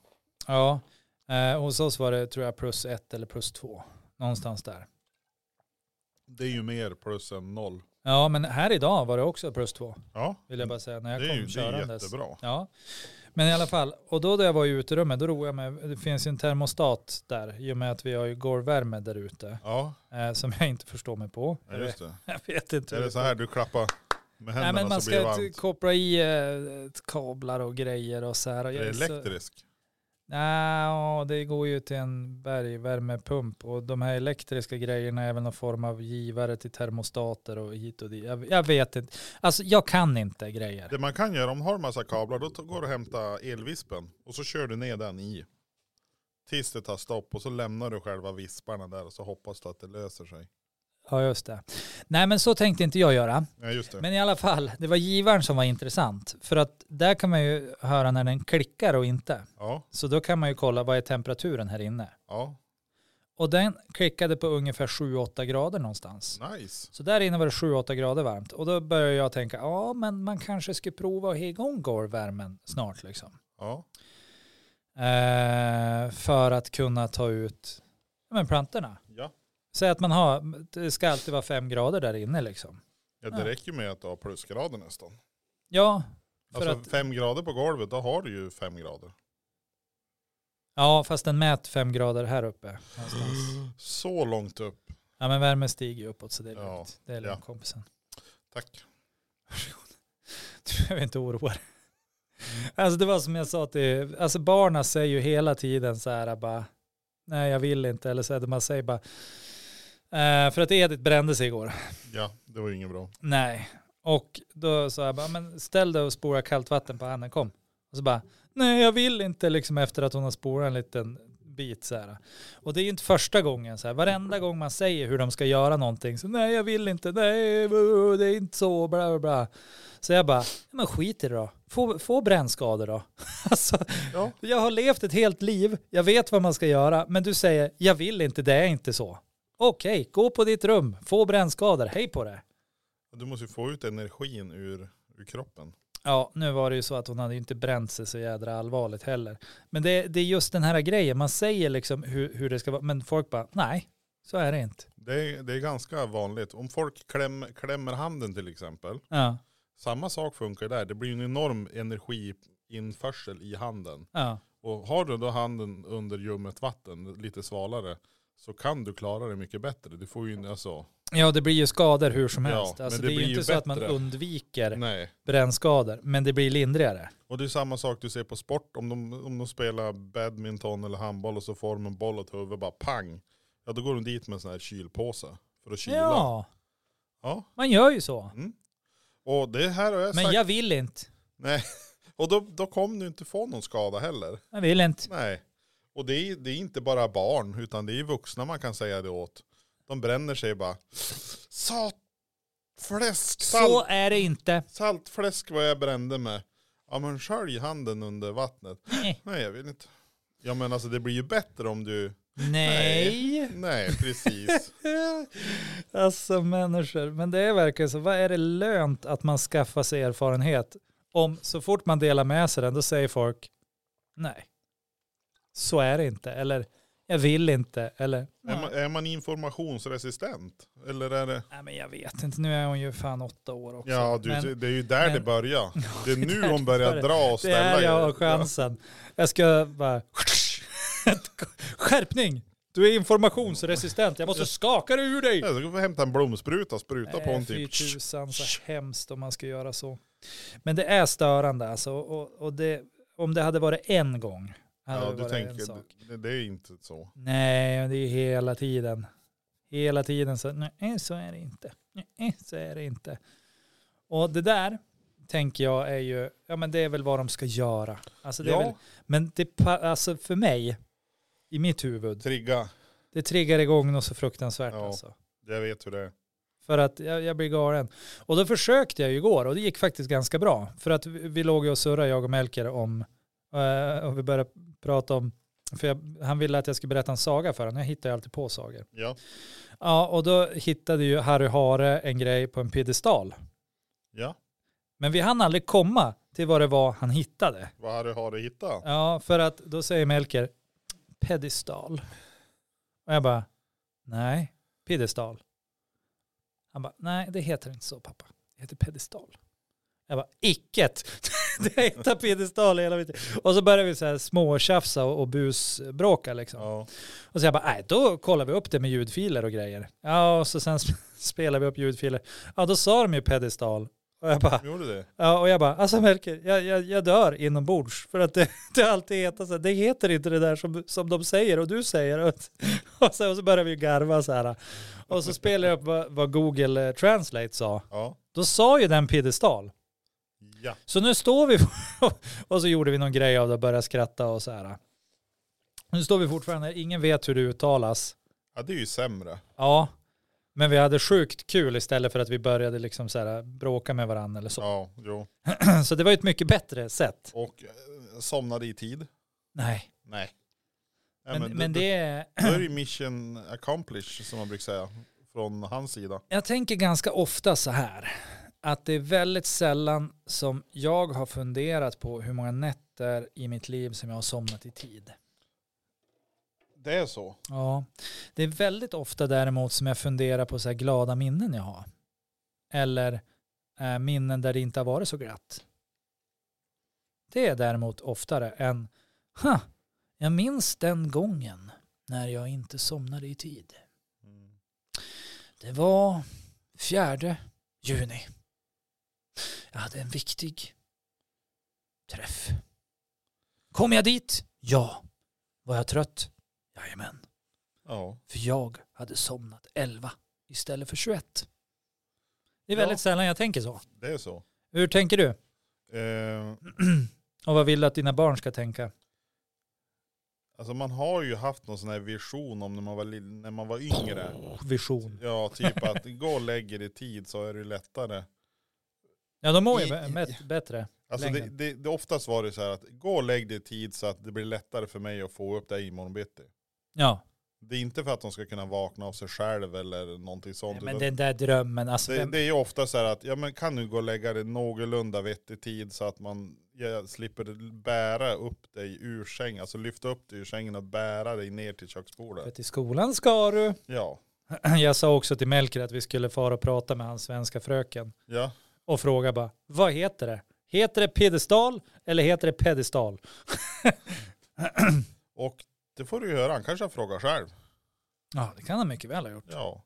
Ja, eh, hos oss var det tror jag plus ett eller plus två. Någonstans där.
Det är ju mer plus än noll.
Ja, men här idag var det också plus två.
Ja,
Vill jag bara säga när jag
Mm. det är
kom
ju det är
körandes.
jättebra.
Ja, men i alla fall. Och då när jag var i uterummet, då roade jag mig. Det finns ju en termostat där i och med att vi har ju golvvärme där ute.
Ja,
Eh, som jag inte förstår mig på.
ja, just det.
Jag vet inte.
Är
hur
det så här du klappar med
typ Nej,
händerna
men man
så blir det
ska
varmt?
t- koppla i eh, kablar och grejer och så här. Och
är det
jag så-
elektrisk?
Nej, ja, det går ju till en bergvärmepump och de här elektriska grejerna är väl någon form av givare till termostater och hit och dit. Jag, jag vet inte. Alltså jag kan inte grejer.
Det man kan göra om man har en massa kablar, då t- går du och hämtar elvispen och så kör du ner den i. Tills det tar stopp och så lämnar du själva visparna där och så hoppas du att det löser sig.
Ja, just det. Nej, men så tänkte inte jag göra.
Ja just det.
Men i alla fall, det var givaren som var intressant. För att där kan man ju höra när den klickar och inte.
Ja,
Så då kan man ju kolla vad är temperaturen här inne.
ja,
Och den klickade på ungefär 7-8 grader någonstans.
nice.
Så där inne var det 7-8 grader varmt och då började jag tänka, ja men man kanske skulle prova att ha igång golvvärmen snart liksom.
Ja,
Eh, för att kunna ta ut ja, men plantorna.
ja.
Säg att man har, det ska alltid vara 5 grader där inne liksom.
ja det
Ja.
räcker med att du har plusgrader nästan.
Ja, för
Alltså
att,
fem grader på golvet, då har du ju fem grader.
ja fast den mät 5 grader här uppe. Någonstans.
Så långt upp.
Ja men värmen stiger ju uppåt så det är
Ja,
lugnt. Det är lugnt
ja.
kompisen.
Tack.
Du behöver inte oroa dig.
Mm.
Alltså det var som jag sa till, alltså barna säger ju hela tiden så här bara, nej jag vill inte, eller så här, man säger bara, eh, för att Edith brände sig igår.
Ja, det var ju inget bra.
Nej. Och då sa jag bara, men ställ dig och spola kallt vatten på handen, kom. Och så bara, nej jag vill inte, liksom efter att hon har spolat en liten bit så här. Och det är ju inte första gången så här, varenda gång man säger hur de ska göra någonting, så nej jag vill inte, nej bu, det är inte så, bla bla bla. Så jag bara, "Ja, men skit i det då, få, få brännskador då. alltså,
Ja.
jag har levt ett helt liv, jag vet vad man ska göra, men du säger, jag vill inte, det är inte så. Okej, gå på ditt rum, få brännskador, hej på det.
Du måste ju få ut energin ur, ur kroppen.
Ja, nu var det ju så att hon hade ju inte bränt sig så jädra allvarligt heller. Men det, det är just den här grejen, man säger liksom hur, hur det ska vara, men folk bara, nej, så är det inte.
Det är, det är ganska vanligt. Om folk kläm, klämmer handen till exempel,
Ja,
Samma sak funkar där. Det blir en enorm energiinförsel i handen.
ja,
Och har du då handen under ljummet vatten, lite svalare, så kan du klara det mycket bättre. Du får ju in- alltså,
ja, det blir ju skador hur som
Ja,
helst.
men
Alltså,
det
det, är ju
blir
inte
ju
så att man
bättre.
undviker
nej.
brännskador, men det blir lindrigare.
Och det är samma sak du ser på sport. Om de, om de spelar badminton eller handboll och så får de en boll åt huvudet, bara pang. Ja då går de dit med en sån här kylpåse för att kyla.
Ja,
Ja.
man gör ju så.
Och det här har jag
Men
sagt.
jag vill inte.
Nej. Och då, då kommer du inte få någon skada heller.
Jag vill inte.
Nej. Och det är, det är inte bara barn, utan det är vuxna man kan säga det åt. De bränner sig bara. Salt, fläsk, salt,
Så är det inte.
saltfläsk vad jag brände med. Ja men skölj handen under vattnet.
Nej.
Nej jag vill inte. Ja men alltså det blir ju bättre om du,
Nej.
nej precis.
alltså människor. Men det är verkligen så. Vad är det lönt att man skaffar sig erfarenhet? Om så fort man delar med sig den, då säger folk nej. Så är det inte. Eller jag vill inte. Eller
är, man, är man informationsresistent? Eller är det?
nej, men jag vet inte. Nu är hon ju fan åtta år också.
Ja du,
men,
det är ju där
men-
det börjar. Det är
där
nu hon
det
börjar
börjar.
dra och
Det
ställa
är jag har
grejer.
chansen. Jag ska bara... Skärpning! Du är informationsresistent. Jag måste skaka dig ur dig.
Ja, så kan vi hämta en blomspruta och spruta på
Nej,
en
fy
typ.
tusan Eh, så hemskt om man ska göra så. Men det är störande alltså. Och, och det, om det hade varit en gång hade
Ja,
det
du
varit en
tänker,
sak.
det, det är inte så.
Nej, men det är hela tiden. Hela tiden så, nej så är det inte. Nej så är det inte. Och det där tänker jag är ju, ja men det är väl vad de ska göra. Alltså det är
Ja,
väl, men det, pa- alltså för mig, i mitt huvud,
trigga.
det triggar igång något så fruktansvärt
Ja.
alltså.
Jag vet hur det är.
För att jag, jag blir galen. Och då försökte jag ju igår och det gick faktiskt ganska bra. För att vi, vi låg ju och surrade jag och Melker om, eh, och vi började prata om, för jag, han ville att jag skulle berätta en saga för honom. Jag hittar ju alltid på sagor.
Ja,
Ja, och då hittade ju Harry Hare en grej på en piedestal.
ja.
Men vi hann aldrig komma till vad det var han hittade.
vad har du, har du hittat?
Ja, för att då säger Melker, pedestal. Och jag bara, nej, piedestal. Han bara, nej det heter inte så pappa, det heter pedestal. Jag bara, icket! det heter piedestal i hela mitt liv. Och så börjar vi så här småtjafsa och, och busbråka liksom.
Ja.
Och så jag bara, nej då kollar vi upp det med ljudfiler och grejer. Ja, och så sen sp- spelar vi upp ljudfiler. Ja, då sa de ju pedestal. Och jag bara,
Gjorde det?
Ja, och jag bara, alltså Melker, jag, jag, jag dör inombords för att det, det alltid heter så här, det heter inte det där som, som de säger och du säger. Och, och, så, och så börjar vi garva så här. Och så spelar jag upp vad, vad Google eh, Translate sa.
Ja.
Då sa ju den piedestal.
Ja.
Så nu står vi och så gjorde vi någon grej av det och började skratta och så här. Nu står vi fortfarande, ingen vet hur det uttalas.
ja, det är ju sämre.
Ja, men vi hade sjukt kul istället för att vi började liksom så här bråka med varandra eller så.
Ja, jo.
Så det var ju ett mycket bättre sätt.
Och eh, somnade i tid?
Nej.
Nej. Nej
Men, men,
men,
det, är,
Då är det ju mission accomplished som man brukar säga. Från hans sida.
jag tänker ganska ofta så här, att det är väldigt sällan som jag har funderat på hur många nätter i mitt liv som jag har somnat i tid.
Det är så.
Ja, det är väldigt ofta däremot som jag funderar på så här glada minnen jag har. Eller eh, minnen där det inte har varit så glatt. Det är däremot oftare än, ha, jag minns den gången när jag inte somnade i tid.
Mm.
Det var 4 juni. Jag hade en viktig träff. Kom jag dit? Ja. Var jag trött? Jajamän.
Ja.
För jag hade somnat 11 istället för 21. Det är
Ja.
väldigt sällan jag tänker så.
Det är så.
Hur tänker du?
Eh,
Och vad vill du att dina barn ska tänka?
alltså man har ju haft någon sån här vision om när man var, lill- när man var yngre.
Vision.
Ja, typ att gå och lägg er i tid så är det lättare.
Ja, de mår ju
I-
bä-
i-
bä- bättre.
Alltså det,
Längden.
det, det oftast var det så här att gå och lägg dig i tid så att det blir lättare för mig att få upp dig imorgon bitti.
Ja,
Det är inte för att de ska kunna vakna av sig själv eller någonting sånt.
Nej, men
utan
den där drömmen. Alltså,
det,
vem-
det är ju ofta så här att, ja men kan du gå och lägga dig någorlunda vettig tid så att man ja, slipper bära upp dig ur sängen, alltså lyfta upp dig ur sängen och bära dig ner till
för
köksbordet.
till skolan ska du.
Ja,
Jag sa också till Melker att vi skulle fara och prata med hans svenska fröken
ja.
och fråga bara, vad heter det? Heter det piedestal eller heter det pedestal?
Och det får du ju höra, han kanske har frågat själv.
Ja, det kan han mycket väl ha gjort.
Ja.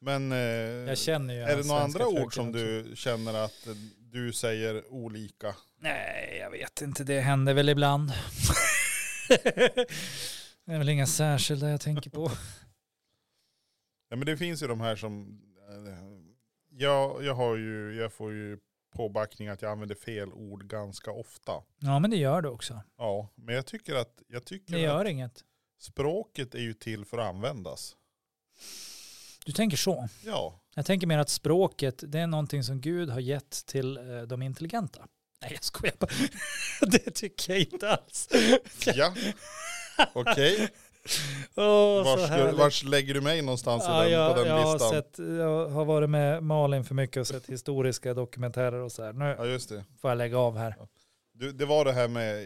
Men... eh,
Jag känner ju
Är det
hans
några
svenska
andra
fröken
ord som
också.
du känner att eh, du säger olika?
Nej, jag vet inte. Det händer väl ibland. det är väl inga särskilda jag tänker på.
Ja, men det finns ju de här som... eh, Jag, jag, har ju, jag får ju påbackning att jag använder fel ord ganska ofta.
Ja, men det gör du också.
Ja, men jag tycker att, jag
Det
tycker att
gör inget.
språket är ju till för att användas.
Du tänker så.
Ja,
Jag tänker mer att språket, det är någonting som Gud har gett till eh, de intelligenta. Nej, jag skojar bara. Det tycker jag inte alls.
ja. okej.
Åh, så
Vars,
härligt.
vars lägger du mig någonstans i
Ja,
den,
jag,
på den
jag, har
listan?
sett, jag har varit med Malin för mycket och sett historiska dokumentärer och så här. Nu
Ja, just det.
får jag lägga av här.
Du, det var det här med det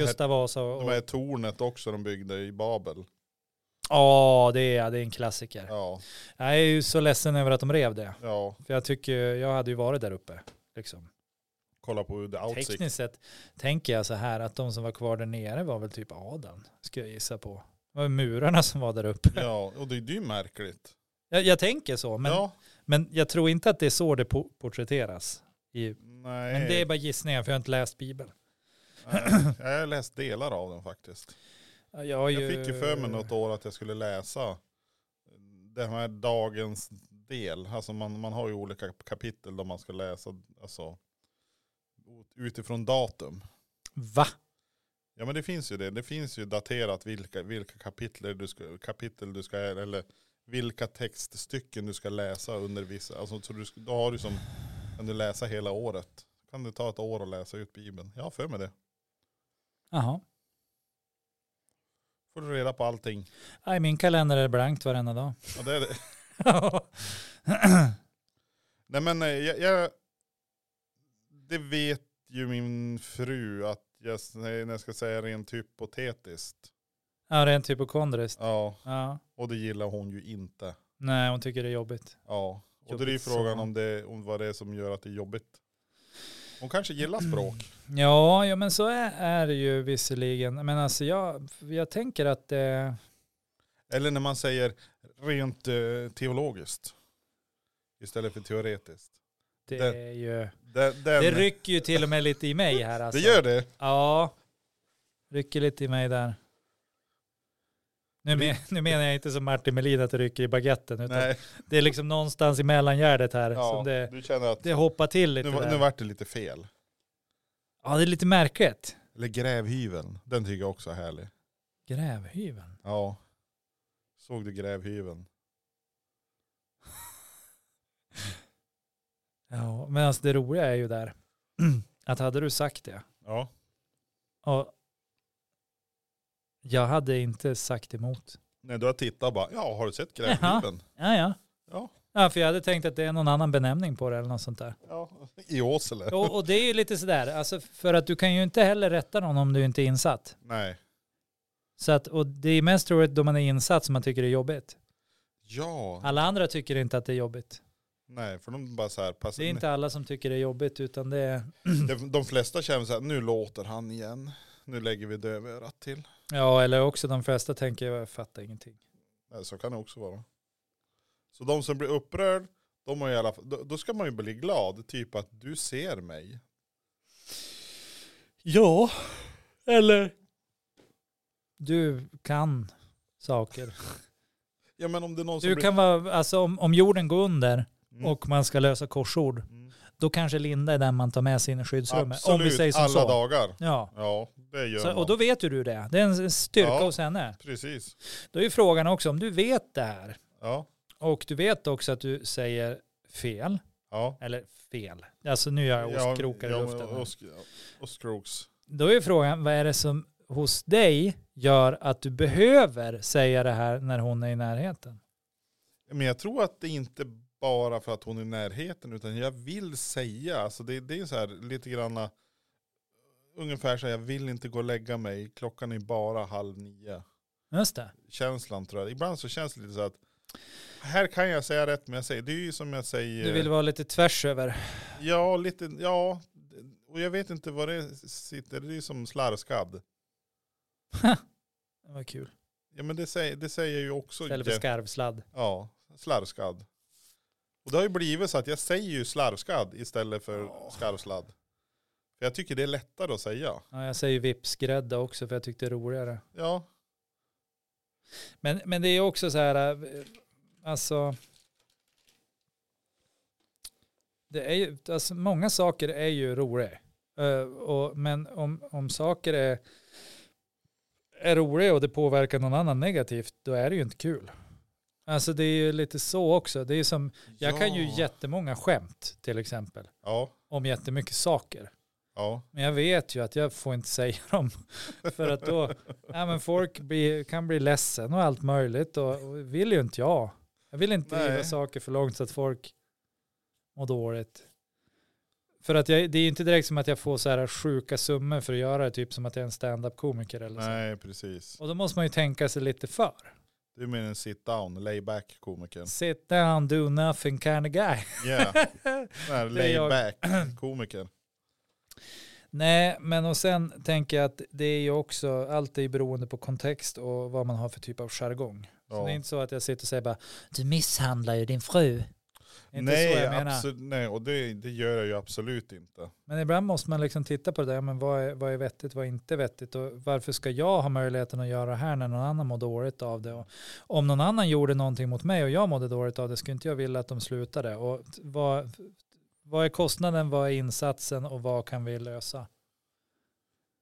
här,
Gustav Vasa och...
de här tornet också de byggde i Babel.
Ja, det är, det är en klassiker.
Ja,
Jag är ju så ledsen över att de rev det.
ja.
För jag tycker, jag hade ju varit där uppe. Liksom.
kolla på The Outsick.
Tekniskt sett tänker jag så här att de som var kvar där nere var väl typ adeln, ska jag gissa på. Det var ju murarna som var där uppe.
Ja, och det, det är ju märkligt.
Jag, jag tänker så, men,
ja,
men jag tror inte att det är så det po- porträtteras. I,
nej.
men det är bara gissningar, för jag har inte läst Bibeln.
nej. Jag har läst delar av den faktiskt.
Ja, Jag, har
Jag fick ju för mig något år att jag skulle läsa den här dagens del. Alltså man, man har ju olika kapitel där man ska läsa alltså, utifrån datum.
Va?
Ja men det finns ju det. Det finns ju daterat vilka, vilka kapitel, du ska, kapitel du ska, eller vilka textstycken du ska läsa under vissa. Alltså, så du, ska- då har du som, kan du läsa hela året. Kan du ta ett år och läsa ut Bibeln. Jag har för mig det.
Jaha.
Får du reda på allting.
Nej, min kalender är blankt varenda dag.
Ja, det är det. Nej men eh, jag, jag, det vet ju min fru att jag, när jag ska säga rent hypotetiskt.
ja, rent hypokondriskt.
Ja,
Ja.
och det gillar hon ju inte.
Nej, hon tycker det är jobbigt.
Ja, och då är det ju
Jobbigt
frågan
så.
om, det, om vad det är som gör att det är jobbigt. Hon kanske gillar språk.
Ja, ja men så är, är det ju visserligen. Men alltså jag, jag tänker att det...
Eller när man säger rent eh, teologiskt. Istället för teoretiskt.
Det,
Det-
är ju,
Den, den,
det
det,
rycker ju till och med lite i mig här. Alltså.
gör det.
Ja, rycker lite i mig där. Nu, men, nu menar jag inte som Martin Melin att det rycker i baguetten. Utan
Nej,
Det är liksom någonstans i mellangärdet här
ja,
som det,
du känner att
det hoppar till lite
nu, var-
där.
nu vart det lite fel.
Ja, det är lite märkligt.
Eller grävhyveln, den tycker jag också är härlig.
Grävhyveln.
Ja. Såg du grävhyveln?
Ja, men alltså det roliga är ju där att hade du sagt det
Ja.
och jag hade inte sagt emot.
Nej, du har tittat bara, ja har du sett grävhyveln?
Ja, ja.
Ja.
Ja, för jag hade tänkt att det är någon annan benämning på det eller något sånt där.
ja. I Åsele?
Och, och det är ju lite sådär, alltså för att du kan ju inte heller rätta någon om du inte är insatt.
Nej.
Så att, och det är mest troligt då man är insatt som man tycker det är jobbigt.
Ja.
Alla andra tycker inte att det är jobbigt.
Nej, för de bara så här, passa.
Det är inte alla som tycker det är jobbigt utan det är,
de, de flesta känner så här, nu låter han igen. Nu lägger vi dövörat till.
ja eller också de flesta tänker jag fattar ingenting.
Nej, så kan det också vara. Så de som blir upprörd, de har i alla fall, då, då ska man ju bli glad, typ att du ser mig.
Ja, eller? Du kan saker.
Ja men om det är någon som
Du
blir...
kan vara, alltså om, om jorden går under
Mm.
och man ska lösa korsord,
Mm.
då kanske Linda är den man tar med sig in i skyddsrummet.
Absolut,
om vi säger som
alla
så.
dagar.
Ja.
Ja, det gör
Så,
man.
och då vet ju du det. Det är en styrka
Ja.
hos henne.
Precis.
Då är ju frågan också, om du vet det här
Ja,
och du vet också att du säger fel,
ja.
eller fel, alltså nu gör jag ostkrokar i
men
luften. här.
Osk, ostkroks.
Då är ju frågan, vad är det som hos dig gör att du behöver säga det här när hon är i närheten?
Men jag tror att det inte bara för att hon är i närheten utan jag vill säga, alltså det, det är så här lite granna ungefär så här, jag vill inte gå och lägga mig, klockan är bara halv nio.
Just det.
Känslan tror jag, ibland så känns det lite så att här kan jag säga rätt men jag säger, det är ju som jag säger,
Du vill vara lite tvärs över.
ja lite, ja, och jag vet inte vad det sitter, det är ju som slarvskadd.
Vad kul.
Ja men det säger, det säger ju också
Istället för
Jeff-
skarvsladd.
Ja, slarvskadd. Och det har ju blivit så att jag säger ju slarvskadd istället för
Ja.
skarvsladd. För jag tycker det är lättare att säga.
Ja, jag säger vipsgrädda också för jag tyckte det är roligare.
Ja,
Men, men det är också så här, eh, alltså, det är ju, alltså många saker är ju roliga. Eh, och, men om, om saker är, är roliga och det påverkar någon annan negativt, då är det ju inte kul. Alltså det är ju lite så också. Det är som, jag kan ju jättemånga skämt till exempel,
Ja,
om jättemycket saker.
ja.
Men jag vet ju att jag får inte säga dem. För att då, ja, men folk blir, kan bli ledsen och allt möjligt. Och, och vill ju inte jag. Jag vill inte driva
Nej.
saker för långt så att folk mår dåligt. För att jag, det är ju inte direkt som att jag får så här sjuka summor för att göra det, typ som att jag är en stand-up-komiker eller så.
Nej, precis.
Och då måste man ju tänka sig lite för.
Du menar en sit down, layback komikern.
Sit down, do nothing kind of guy.
Yeah. Nej,
Det är jag.
layback komikern.
Nej, men och sen tänker jag att det är ju också, allt är ju beroende på kontext och vad man har för typ av jargong. Så
Ja.
det är inte så att jag sitter och säger bara, du misshandlar ju din fru. Det är Inte
Nej,
så jag menar.
absolut, nej, och det, det gör jag ju absolut inte.
Men ibland måste man liksom titta på det där, men vad är, vad är vettigt, vad är inte vettigt och varför ska jag ha möjligheten att göra det här när någon annan mår dåligt av det? Och om någon annan gjorde någonting mot mig och jag mådde dåligt av det, skulle inte jag vilja att de slutade? Och t- vad, vad är kostnaden, vad är insatsen och vad kan vi lösa?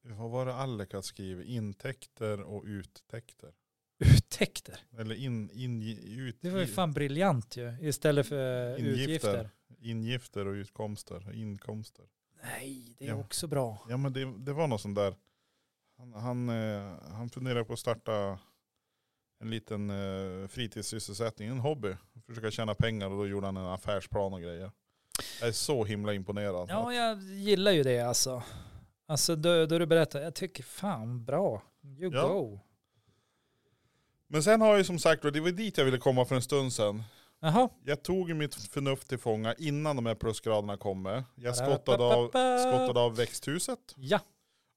Vad var det Alec hade skrivit? Intäkter och uttäkter.
Uttäkter.
Eller in, in, ut,
Det var ju fan briljant ju, istället för eh,
Ingifter.
utgifter.
ingifter och utkomster. Inkomster.
Nej, det är
Ja.
också bra.
Ja men det, det var någon sån där. Han, han, eh, han funderar på att starta en liten eh, fritidssysselsättning, en hobby. Försöka tjäna pengar och då gjorde han en affärsplan och grejer. Jag är så himla imponerad.
Ja, jag gillar ju det alltså. Alltså då, då du berättar, jag tycker fan bra. You
Ja.
go.
Men sen har jag ju som sagt, och det var dit jag ville komma för en stund sedan.
Jaha.
Jag tog ju mitt förnuft till fånga innan de här plusgraderna kommer. Jag skottade av, skottade av växthuset
Ja,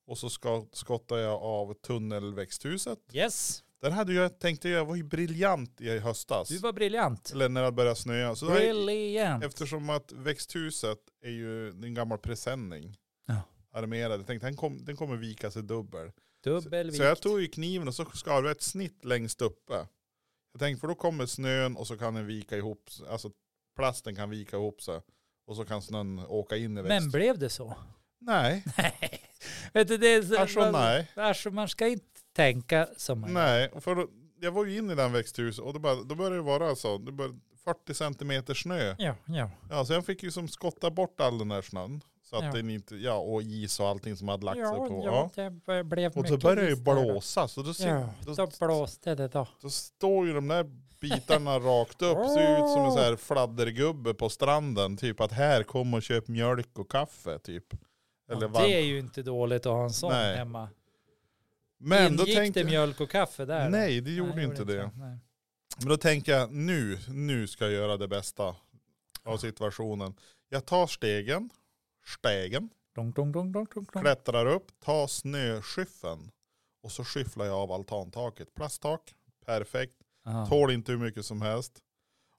och så ska- skottade jag av tunnelväxthuset.
yes.
Där hade jag, tänkte jag, var ju briljant i höstas.
Du var briljant.
Eller när det började snöa. Så det här,
Brilliant.
eftersom att växthuset är ju en gammal presenning.
Ja.
Armerad. Jag tänkte den, kom, den kommer vika sig dubbel.
Dubbelvikt.
Så jag tog ju kniven och så skar jag ett snitt längst uppe. Jag tänkte för då kommer snön och så kan den vika ihop sig. Alltså plasten kan vika ihop sig. Och så kan snön åka in i
Men
växthuset.
blev det så?
Nej,
Nej. Vet du, det är så,
alltså nej.
Alltså, man ska inte tänka som man
Nej, och för då, jag var ju inne i den växthuset och då, bara, då började det vara alltså, det började 40 centimeter snö.
Ja, ja.
Ja, så jag fick ju som skotta bort all den där snön. Så att
Ja.
den inte, ja och is och allting som hade lagt sig
ja,
på. Ja.
ja, det b- blev
Och så
mycket
började det ju
is där då.
blåsa, så då, ser-
Ja,
då,
då
då,
blåste det då.
står ju de där bitarna rakt upp. Ser ut som en sån här fladdergubbe på stranden. Typ att här, kom och köp mjölk och kaffe typ. Eller
Och det
varm.
är ju inte dåligt att ha en sån
Nej.
hemma.
Men då
Ingick
tänkte
det
jag,
mjölk och kaffe där? då?
nej det gjorde
Nej,
inte det.
Nej.
Men då tänker jag, nu, nu ska jag göra det bästa av situationen. Jag tar stegen, stegen.
Dong, dong, dong, dong, dong, dong.
klättrar upp, tar snöskyffeln och så skyfflar jag av altantaket. Plasttak, perfekt,
Ja.
tål inte hur mycket som helst.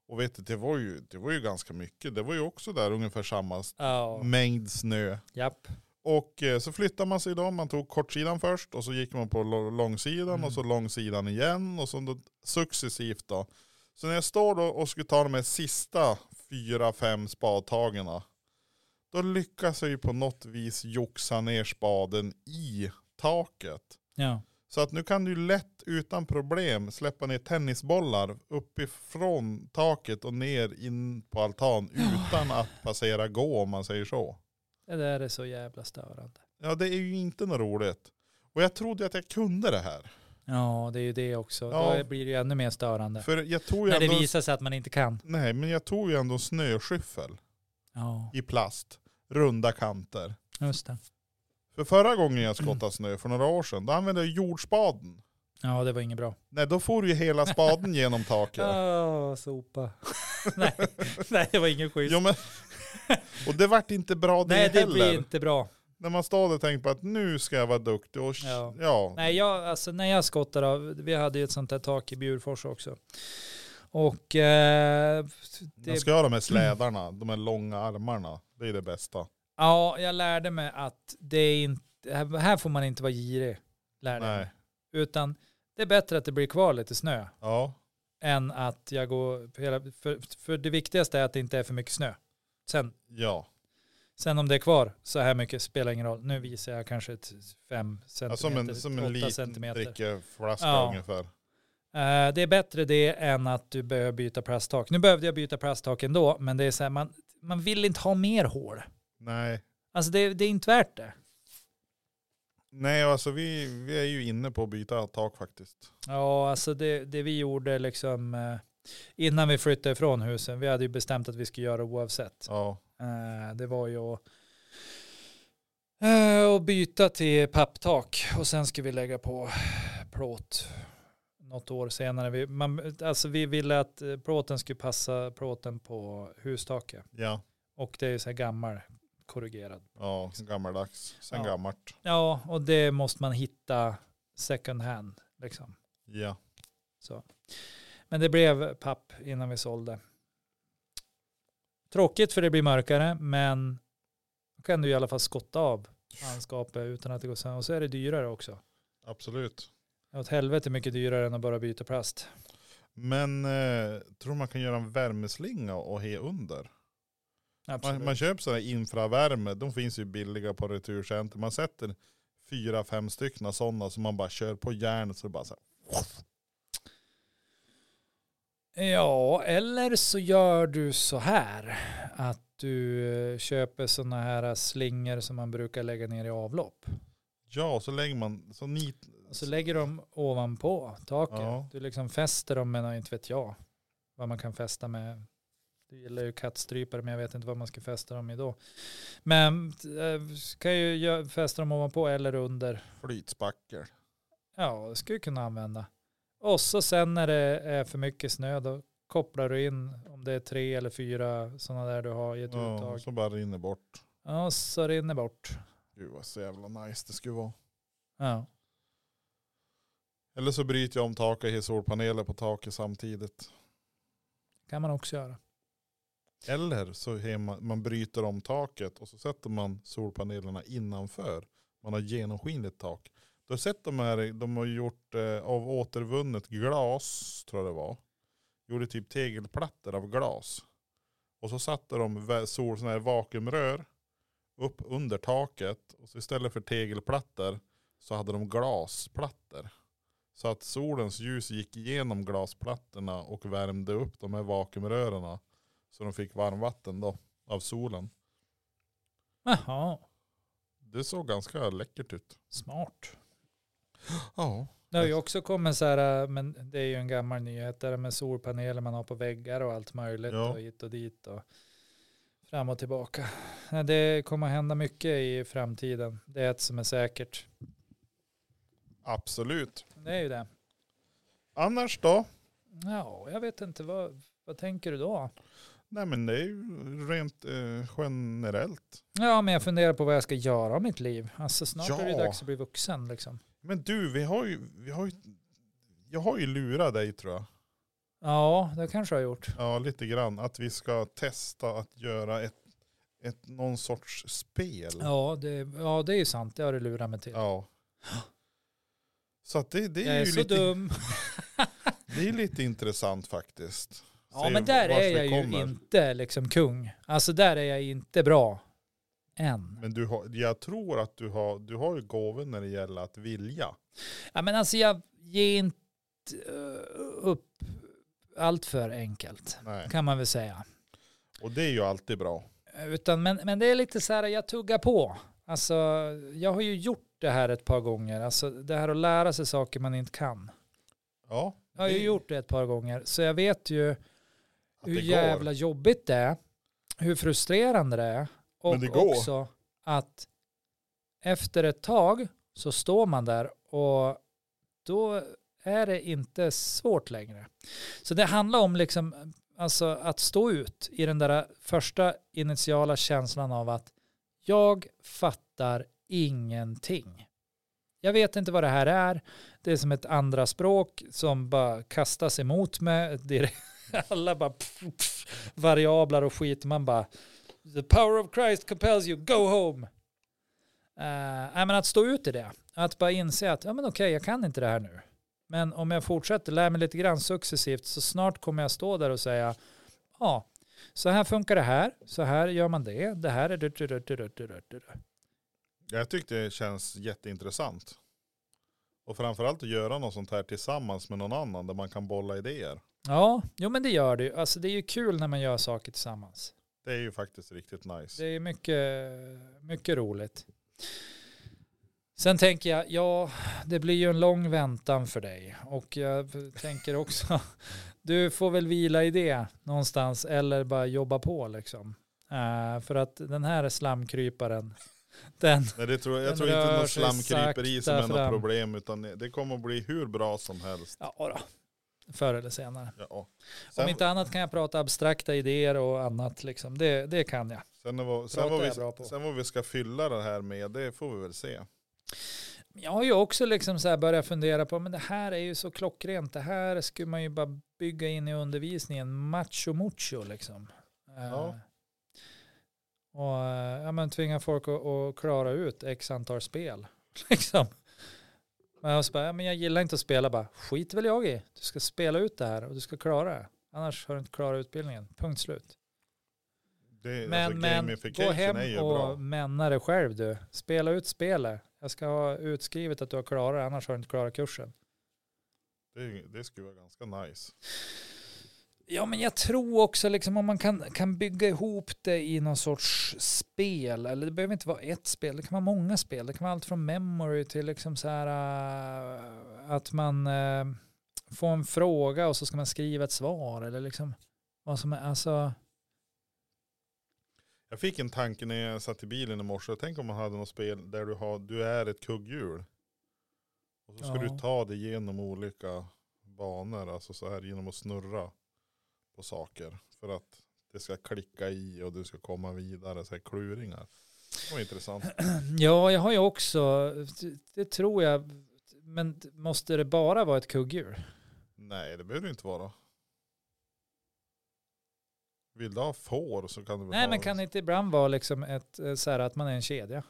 Och vet du, det var ju, det var ju ganska mycket. Det var ju också där ungefär samma s-
Ja,
mängd snö.
japp.
Och eh, så flyttade man sig då, man tog kortsidan först och så gick man på lo- långsidan
Mm.
och så långsidan igen och så då, successivt då. Så när jag står då och skulle ta de här sista fyra, fem spadtagen då lyckas jag ju på något vis joxa ner spaden i taket.
Ja.
Så att nu kan du lätt utan problem släppa ner tennisbollar uppifrån taket och ner in på altan utan att passera gå om man säger så.
Det där är så jävla störande.
Ja, det är ju inte något roligt. Och jag trodde att jag kunde det här.
Ja, det är ju det också.
Ja.
Då blir det ju ännu mer störande.
För jag tog ju
När det
ändå,
visar sig att man inte kan.
nej, men jag tog ju ändå snöskyffel
Ja,
i plast, runda kanter.
just det.
För förra gången jag skottade snö för några år sedan, då använde jag jordspaden.
Ja, det var inget bra.
Nej, då får ju hela spaden genom taket.
Åh, sopa. nej, nej, det var ingen schysst.
Jo, men, och det vart inte bra det
nej, det
heller.
blir inte bra.
När man står där och tänker på att nu ska jag vara duktig och
Ja.
ja. ja.
Nej, jag, alltså, när jag skottar av, vi hade ju ett sånt där tak i Bjurfors också. Och eh, det
Jag ska ha de här slädarna, de här långa armarna. Det är det bästa.
Ja, jag lärde mig att det är inte, här- här får man inte vara girig. Lärde jag mig.
Nej.
Utan det är bättre att det blir kvar lite snö
Ja,
än att jag går, på hela, för, för det viktigaste är att det inte är för mycket snö. Sen,
Ja.
sen om det är kvar så här mycket spelar ingen roll. Nu visar jag kanske ett fem
Ja,
centimeter,
som
åtta
en, som en liten
centimeter.
drickeflaska
Ja.
ungefär.
Eh, det är bättre det än att du behöver byta plasttak. Nu behövde jag byta plasttak ändå, men det är så här, man, man vill inte ha mer hål.
Nej.
Alltså det, det är inte värt det.
Nej, alltså vi, vi är ju inne på att byta tak faktiskt.
Ja, alltså det, det vi gjorde liksom eh, innan vi flyttade ifrån husen, vi hade ju bestämt att vi skulle göra oavsett.
Ja.
Eh, det var ju att eh, att byta till papptak och sen skulle vi lägga på plåt något år senare. Vi, man, alltså vi ville att eh, plåten skulle passa plåten på hustaket
Ja.
och det är ju så här gammal korrigerad.
Ja, gammaldags. Sen
Ja.
gammalt.
Ja, och det måste man hitta second hand liksom.
Ja.
Så. Men det blev papp innan vi sålde. Tråkigt för det blir mörkare, men då kan du i alla fall skotta av handskapet utan att det går sönder. Och så är det dyrare också.
Absolut.
Det är Åt helvete mycket dyrare än att bara byta plast.
Men eh, tror man kan göra en värmeslinga och he under? Man,
Absolut.
man köper sådana här infravärme, de finns ju billiga på returcenter. Man sätter fyra, fem stycken sådana som man bara kör på järnet så det bara så här.
Ja, eller så gör du så här att du eh, köper sådana här slingor som man brukar lägga ner i avlopp.
Ja, så lägger man, så nit,
Och så lägger de ovanpå taket.
Ja.
Du liksom fäster dem med, nå- inte vet jag, vad man kan fästa med. Du gillar ju kattstrypare men jag vet inte vad man ska fästa dem i då. Men eh, kan ju gö- fästa dem ovanpå eller under.
flytspackel.
Ja, det skulle jag kunna använda. Och så sen när det är för mycket snö då kopplar du in om det är tre eller fyra sådana där du har i ett
Ja,
uttag.
så bara rinner bort.
Ja, och så rinner bort.
Gud vad så jävla nice det skulle vara.
Ja.
Eller så bryter jag om taket och har solpaneler på taket samtidigt.
kan man också göra.
Eller så har man, man bryter om taket och så sätter man solpanelerna innanför. Man har genomskinligt tak. Du har sett de här, de har gjort eh, av återvunnet glas, tror jag det var. Gjorde typ tegelplattor av glas. Och så satte de vä- sol, såna här vakuumrör upp under taket. Och så istället för tegelplattor så hade de glasplattor. Så att solens ljus gick igenom glasplattorna och värmde upp de här vakuumrören. Så de fick varmvatten då av solen.
Jaha,
Det såg ganska läckert ut.
smart.
Ja.
Det har ju också kommit så här, äh, men det är ju en gammal nyhet, där med solpaneler man har på väggar och allt möjligt
Ja.
och hit och dit och fram och tillbaka. Nej, Det kommer att hända mycket i framtiden. Det är ett som är säkert.
Absolut.
Det är ju det.
Annars då?
Ja, jag vet inte, vad, vad tänker du då?
Nej men det är ju rent eh, generellt.
Ja, men jag funderar på vad jag ska göra av mitt liv. Alltså snart är det
Ja.
dags att bli vuxen liksom.
Men du, vi har ju, vi har ju, jag har ju lurat dig tror jag.
Ja, det kanske jag har gjort.
Ja, lite grann. Att vi ska testa att göra ett, ett någon sorts spel.
Ja, det, ja, det är ju sant. Det har du lurat mig till.
Ja. Så att det, det
jag
är,
är
ju
så
lite,
dum.
det är lite intressant faktiskt.
Ja,
Se
men där
vart
är
vi
jag
kommer.
ju inte liksom kung. Alltså där är jag inte bra. Än.
Men du har, jag tror att du har, du har ju gåvor när det gäller att vilja.
Ja, men alltså jag ger inte eh, upp allt för enkelt.
Nej.
Kan man väl säga.
Och det är ju alltid bra.
Utan, men, men det är lite så här, jag tuggar på. Alltså jag har ju gjort det här ett par gånger. Alltså det här att lära sig saker man inte kan.
Ja,
Jag har ju
Det-
gjort det ett par gånger. Så jag vet ju
att
hur
det
jävla
går.
jobbigt det är, hur frustrerande det är och
Men det går.
också att efter ett tag så står man där och då är det inte svårt längre. Så det handlar om liksom, alltså att stå ut i den där första initiala känslan av att jag fattar ingenting. Jag vet inte vad det här är. Det är som ett andra språk som bara kastas emot mig. direkt. Alla bara pff, pff, variabler och skit. Man bara the power of Christ compels you, go home. Eh, nej, men att stå ut i det. Att bara inse att ja, men okej, jag kan inte det här nu. Men om jag fortsätter lära mig lite grann successivt så snart kommer jag stå där och säga ja, Så här funkar det här, så här gör man det, det här är... du- du- du- du- du- du- du- du.
Jag tyckte det känns jätteintressant. Och framförallt att göra något sånt här tillsammans med någon annan där man kan bolla idéer.
Ja, jo men det gör det ju. Alltså det är ju kul när man gör saker tillsammans.
Det är ju faktiskt riktigt nice.
Det är mycket, mycket roligt. Sen tänker jag, ja, det blir ju en lång väntan för dig. Och jag tänker också, du får väl vila i det någonstans eller bara jobba på liksom. Eh, för att den här slamkryparen, den,
Nej, det tror, jag
Den
tror inte
rör
något
sig
slam kryper i som
sakta
är något
fram.
problem utan det kommer att bli hur bra som helst.
ja då, förr eller senare.
Ja.
Om
Sen,
inte annat kan jag prata abstrakta idéer och annat liksom. Det, det kan jag.
sen, vad,
Pratar
sen, vad
jag bra på.
vi, sen vad vi ska fylla det här med, det får vi väl se.
Jag har ju också liksom så här börjat fundera på, men det här är ju så klockrent. Det här skulle man ju bara bygga in i undervisningen. Macho mucho liksom. Eh,
Ja.
Och eh, ja, men tvinga folk att, att klara ut x antal spel. Liksom. Men jag, så bara, ja, men jag gillar inte att spela bara, skit väl jag i. Du ska spela ut det här och du ska klara det. Annars har du inte klarat utbildningen. Punkt slut.
Det,
Men,
alltså,
men gå
gamification är ju
hem
bra.
och männa dig själv du. Spela ut spelet. Jag ska ha utskrivet att du har klarat det, annars har du inte klarat kursen.
Det, det skulle vara ganska nice.
Ja, men jag tror också liksom om man kan, kan bygga ihop det i någon sorts spel, eller det behöver inte vara ett spel, det kan vara många spel, det kan vara allt från memory till liksom så här äh, att man äh, får en fråga och så ska man skriva ett svar eller liksom vad som är, alltså,
Jag fick en tanke när jag satt i bilen i morse. Tänk om man hade något spel där du, har, du är ett kugghjul. Och så ska
Ja.
du ta dig genom olika banor. Alltså så här genom att snurra på saker. För att det ska klicka i och du ska komma vidare. Så här kluringar. Det var intressant.
ja, jag har ju också, det, det tror jag, men måste det bara vara ett kugghjul?
Nej det behöver det inte vara. Vill du ha får så kan du väl
Nej,
ha
men kan det inte ibland vara liksom ett, eh, så här att man är en kedja?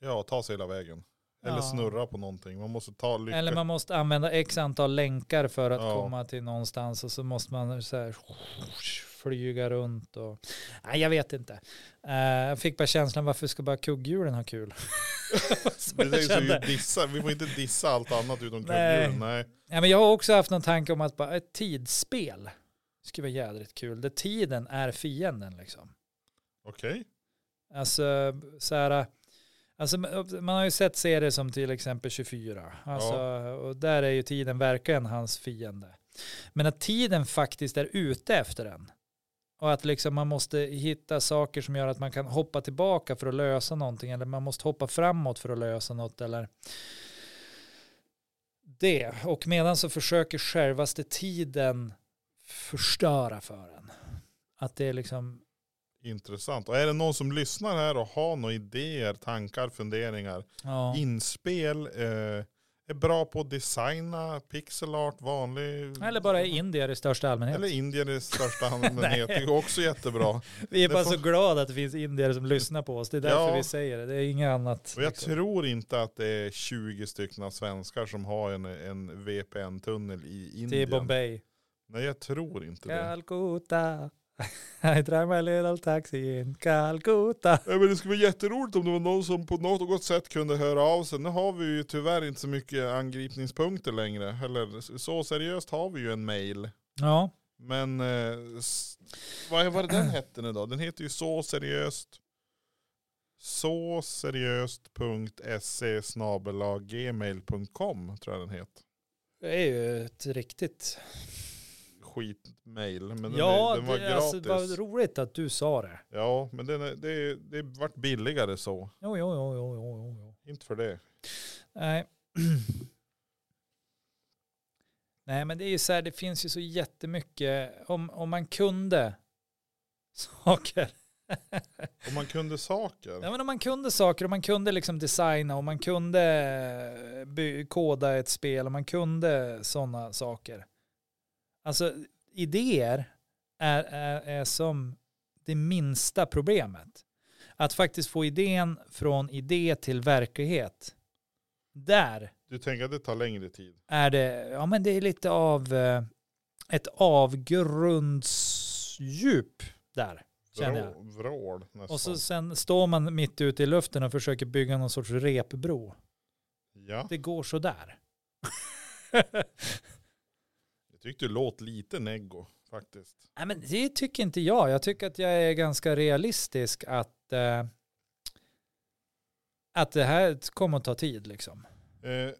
Ja, ta sig hela vägen. Eller
Ja.
snurra på någonting. Man måste ta lycka.
Eller man måste använda x antal länkar för att
Ja.
komma till någonstans och så måste man så här flyga runt och... Nej, jag vet inte. Eh, Jag fick bara känslan varför ska bara kugghjulen ha kul? Så
Det är
jag,
så ju
kände.
dissa. Vi får inte dissa allt annat utom
Nej.
kugghjul. Nej.
Ja, men jag har också haft någon tanke om att bara ett tidsspel skulle vara jädrigt kul. Där tiden är fienden liksom.
Okej.
Alltså, så här, alltså, man har ju sett serier som till exempel 24. Alltså, Och där är ju tiden verkligen hans fiende. Men att tiden faktiskt är ute efter den. Och att liksom man måste hitta saker som gör att man kan hoppa tillbaka för att lösa någonting. Eller man måste hoppa framåt för att lösa något. Eller det. Och medan så försöker självaste tiden förstöra för en. Att det är liksom
Intressant. Och är det någon som lyssnar här och har några idéer, tankar, funderingar,
ja.
inspel, eh, är bra på att designa, pixel art, vanlig...
Mm. Eller bara indier i största allmänhet.
Eller indier i största allmänhet. det går också jättebra.
vi är
det
bara
får-
så glada att det finns indier som lyssnar på oss. Det är därför
Ja.
vi säger det. Det är inget annat.
Och jag
liksom.
tror inte att det är 20 stycken svenskar som har en, en VPN-tunnel i
Till
Indien.
Bombay.
Nej, jag tror inte det.
Calcutta. I drive my little taxi in Calcutta.
Ja, men det skulle vara jätteroligt om det var någon som på något sätt kunde höra av sig. Nu har vi ju tyvärr inte så mycket angripningspunkter längre. Eller så seriöst har vi ju en mail.
Ja,
Men eh, s- vad var det den hette nu då? Den heter ju så seriöst. Så seriöst.se snabel-a gmail.com tror jag den heter.
det är ju ett riktigt...
Skitmail. Men den,
ja,
är, den var
det,
gratis.
alltså, det var roligt att du sa det.
Ja, men den är, det, är- det vart billigare så.
Jo, jo, jo, jo, jo, jo, jo.
Inte för det.
Nej. Nej, men det är ju så här, det finns ju så jättemycket, om, om man kunde saker
Om man kunde saker.
Ja, men om man kunde saker, om man kunde liksom designa, om man kunde eh, by- koda ett spel, om man kunde sådana saker. Alltså idéer är, är, är som det minsta problemet. Att faktiskt få idén från idé till verklighet. Där
Du tänker att det tar längre tid.
är det, ja men det är lite av eh, ett avgrunds, djup där. Känner jag.
Vrå, vrål nästan.
Och så, sen står man mitt ute i luften och försöker bygga någon sorts repbro.
Ja,
Det går sådär.
jag tyckte du låt lite neggo faktiskt.
Nej, men det tycker inte jag. Jag tycker att jag är ganska realistisk att, eh, att det här kommer att ta tid. Liksom.
Eh,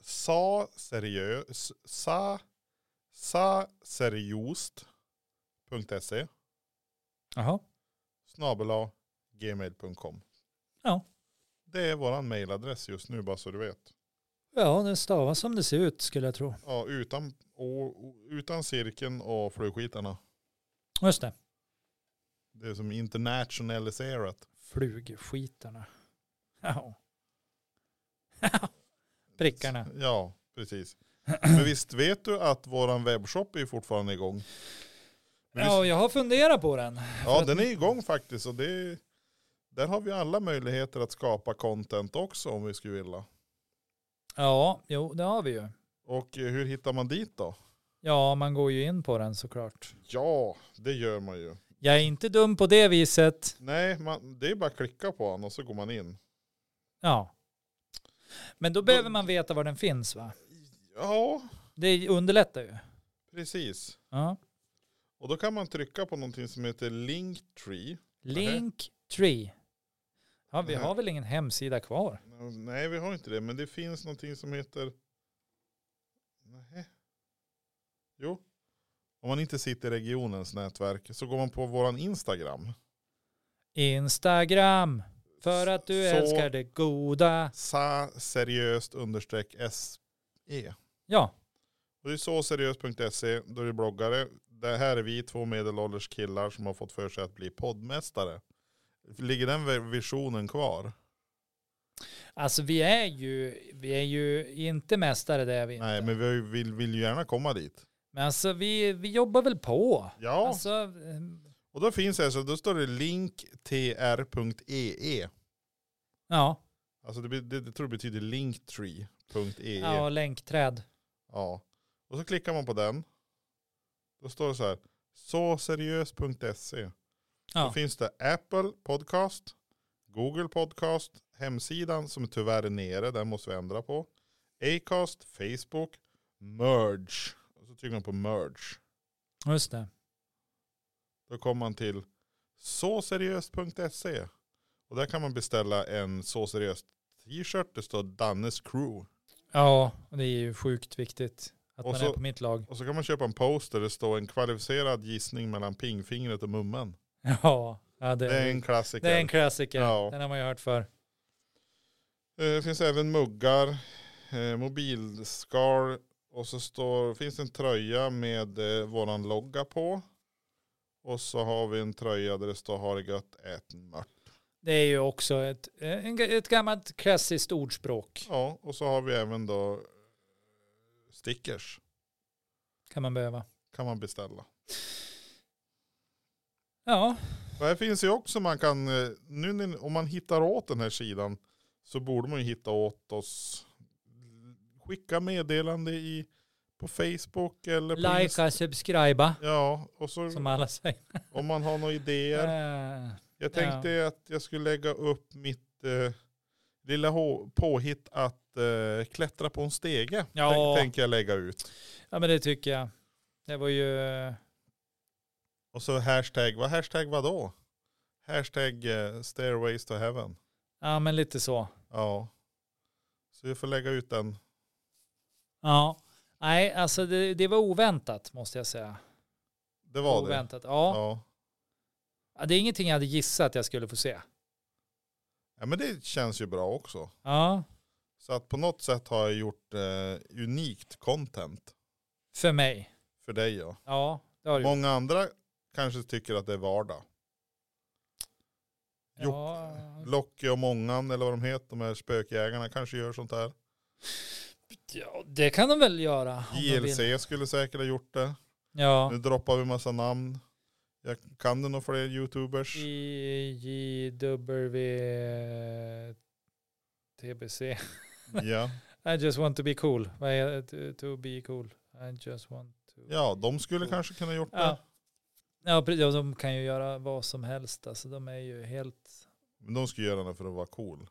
sa seriös, sa, sa seriöst.se
Jaha.
E snabel gmail.com.
Ja.
Det är våran mailadress just nu bara så du vet.
Ja, det stavas som det ser ut skulle jag tro.
Ja, utan, och, utan cirkeln och flugskitarna.
Just det.
Det är som internationaliserat.
Flugskitarna. Ja. Prickarna.
Ja, precis. Men visst vet du att våran webbshop är fortfarande igång? Men
Ja, jag har funderat på den.
Ja, den är igång faktiskt. Och det, där har vi alla möjligheter att skapa content också om vi skulle vilja.
Ja, jo, det har vi ju.
Och eh, hur hittar man dit då?
Ja, man går ju in på den såklart.
Ja, det gör man ju.
Jag är inte dum på det viset.
Nej, man, det är bara att klicka på den och så går man in.
Ja. Men då behöver man veta var den finns va?
Ja,
Det underlättar ju.
precis.
Ja.
Och då kan man trycka på någonting som heter Linktree.
Linktree. Ja, vi
Nej.
har väl ingen hemsida kvar?
Nej, vi har inte det, men det finns någonting som heter... Nej. Jo. Om man inte sitter i regionens nätverk så går man på våran Instagram.
Instagram. För att du
Så-
älskar det goda.
sa seriöst understreck se.
Ja,
Och det är så seriöst.se, E, då är det bloggare. Det här är vi två medelålders killar som har fått för sig att bli poddmästare. Ligger den vi- visionen kvar?
alltså vi är ju, vi är ju inte mästare det är vi inte.
Nej, men vi vill, vill ju gärna komma dit.
Men alltså vi, vi jobbar väl på.
Ja,
Alltså, ehm,
och då finns det, så då står det linktr.ee.
ja,
Alltså det, be- det, det tror jag betyder linktree.ee.
ja, länkträd.
E. Ja. Och så klickar man på den. Då står det så här. Såseriös.se. E. Då
Ja.
finns det Apple Podcast, Google Podcast, hemsidan som tyvärr är nere, den måste vi ändra på. Acast, Facebook, Merge. Och så trycker man på Merge.
Just det.
Då kommer man till såseriöst.se. E. Och där kan man beställa en såseriöst t-shirt. Det står Dannes Crew.
Ja, och det är ju sjukt viktigt att
Och
man
så-
är på mitt lag.
Och så kan man köpa en poster där det står en kvalificerad gissning mellan pingfingret och mummen.
Ja, ja det,
Det är en klassiker.
det är en klassiker.
Ja.
Den har man ju hört för.
Eh, Det finns även muggar, eh, mobilskal och så står, finns det en tröja med eh, våran logga på. Och så har vi en tröja där det står ha det gött, ät mört.
Det är ju också ett, eh, en- ett gammalt klassiskt ordspråk
Ja, och så har vi även då eh, stickers
kan man behöva.
kan man beställa.
Ja,
Och här finns ju också man kan, eh, nu när- om man hittar åt den här sidan så borde man ju hitta åt oss. Skicka meddelande i, på Facebook eller på Insta-
likea, subscriba
Ja, och så
som alla säger.
om man har några idéer.
Eh,
Jag tänkte att jag skulle lägga upp mitt eh, lilla hå- påhitt att eh, klättra på en stege.
Ja.
Tänk- Tänker jag lägga ut.
Ja, men det tycker jag. Det var ju, eh,
Och så hashtag, vad hashtag vadå? Hashtag eh, stairways to heaven.
ja men lite så.
Ja. Så vi får lägga ut den.
Ja, nej alltså det, det var oväntat måste jag säga.
Det var det.
oväntat, ja.
Ja.
ja. Det är ingenting jag hade gissat att jag skulle få se.
ja, men det känns ju bra också.
Ja,
Så att på något sätt har jag gjort eh, unikt content
för mig.
för dig. Ja.
Ja, det har du.
Många andra kanske tycker att det är vardag. Jo.
Ja,
Locke och Mångan eller vad de heter, de här spökjägarna kanske gör sånt här.
ja, det kan de väl göra. om de vill.
JLC skulle säkert ha gjort det.
Ja.
Nu droppar vi massa namn. Jag, kan du några fler youtubers?
JW TBC.
Ja.
I just want to be cool. Vad är det? To- To be cool. I just want to.
ja, de skulle kanske kunna gjort det.
Ja. Ja, pre- ja, de kan ju göra vad som helst. Alltså, de är ju helt...
Men de ska göra det för att vara cool.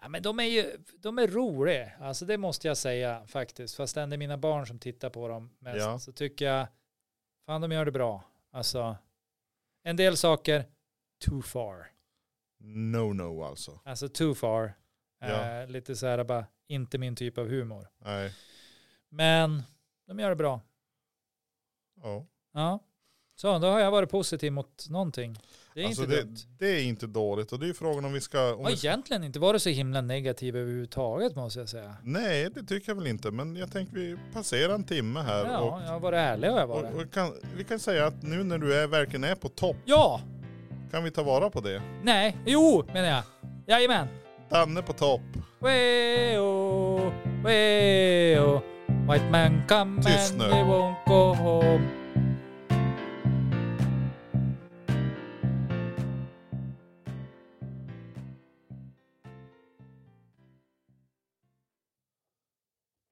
Ja, men de är ju de är roliga. Alltså, det måste jag säga faktiskt. Fast det är mina barn som tittar på dem mest.
Ja.
Så tycker jag, fan de gör det bra. Alltså, en del saker, too far.
No no alltså.
Alltså too far.
Ja.
Eh, lite så här bara, inte min typ av humor.
Nej.
Men de gör det bra.
Ja.
Ja. Så, då har jag varit positiv mot någonting. Det är
alltså
inte
det,
dumt.
det är inte dåligt och det är ju frågan om vi ska... Om
Och
vi ska
egentligen inte varit så himla negativ överhuvudtaget måste jag säga.
nej det tycker jag väl inte men jag tänker vi passerar en timme här.
Ja,
och,
jag har varit ärlig har jag varit.
och, och kan, vi kan säga att nu när du är, verkligen är på topp
Ja!
kan vi ta vara på det.
Nej! Jo, menar jag. Jajamän!
Danne på topp.
Weo, weo. White man come
Tyst
and
nu.
they won't go home.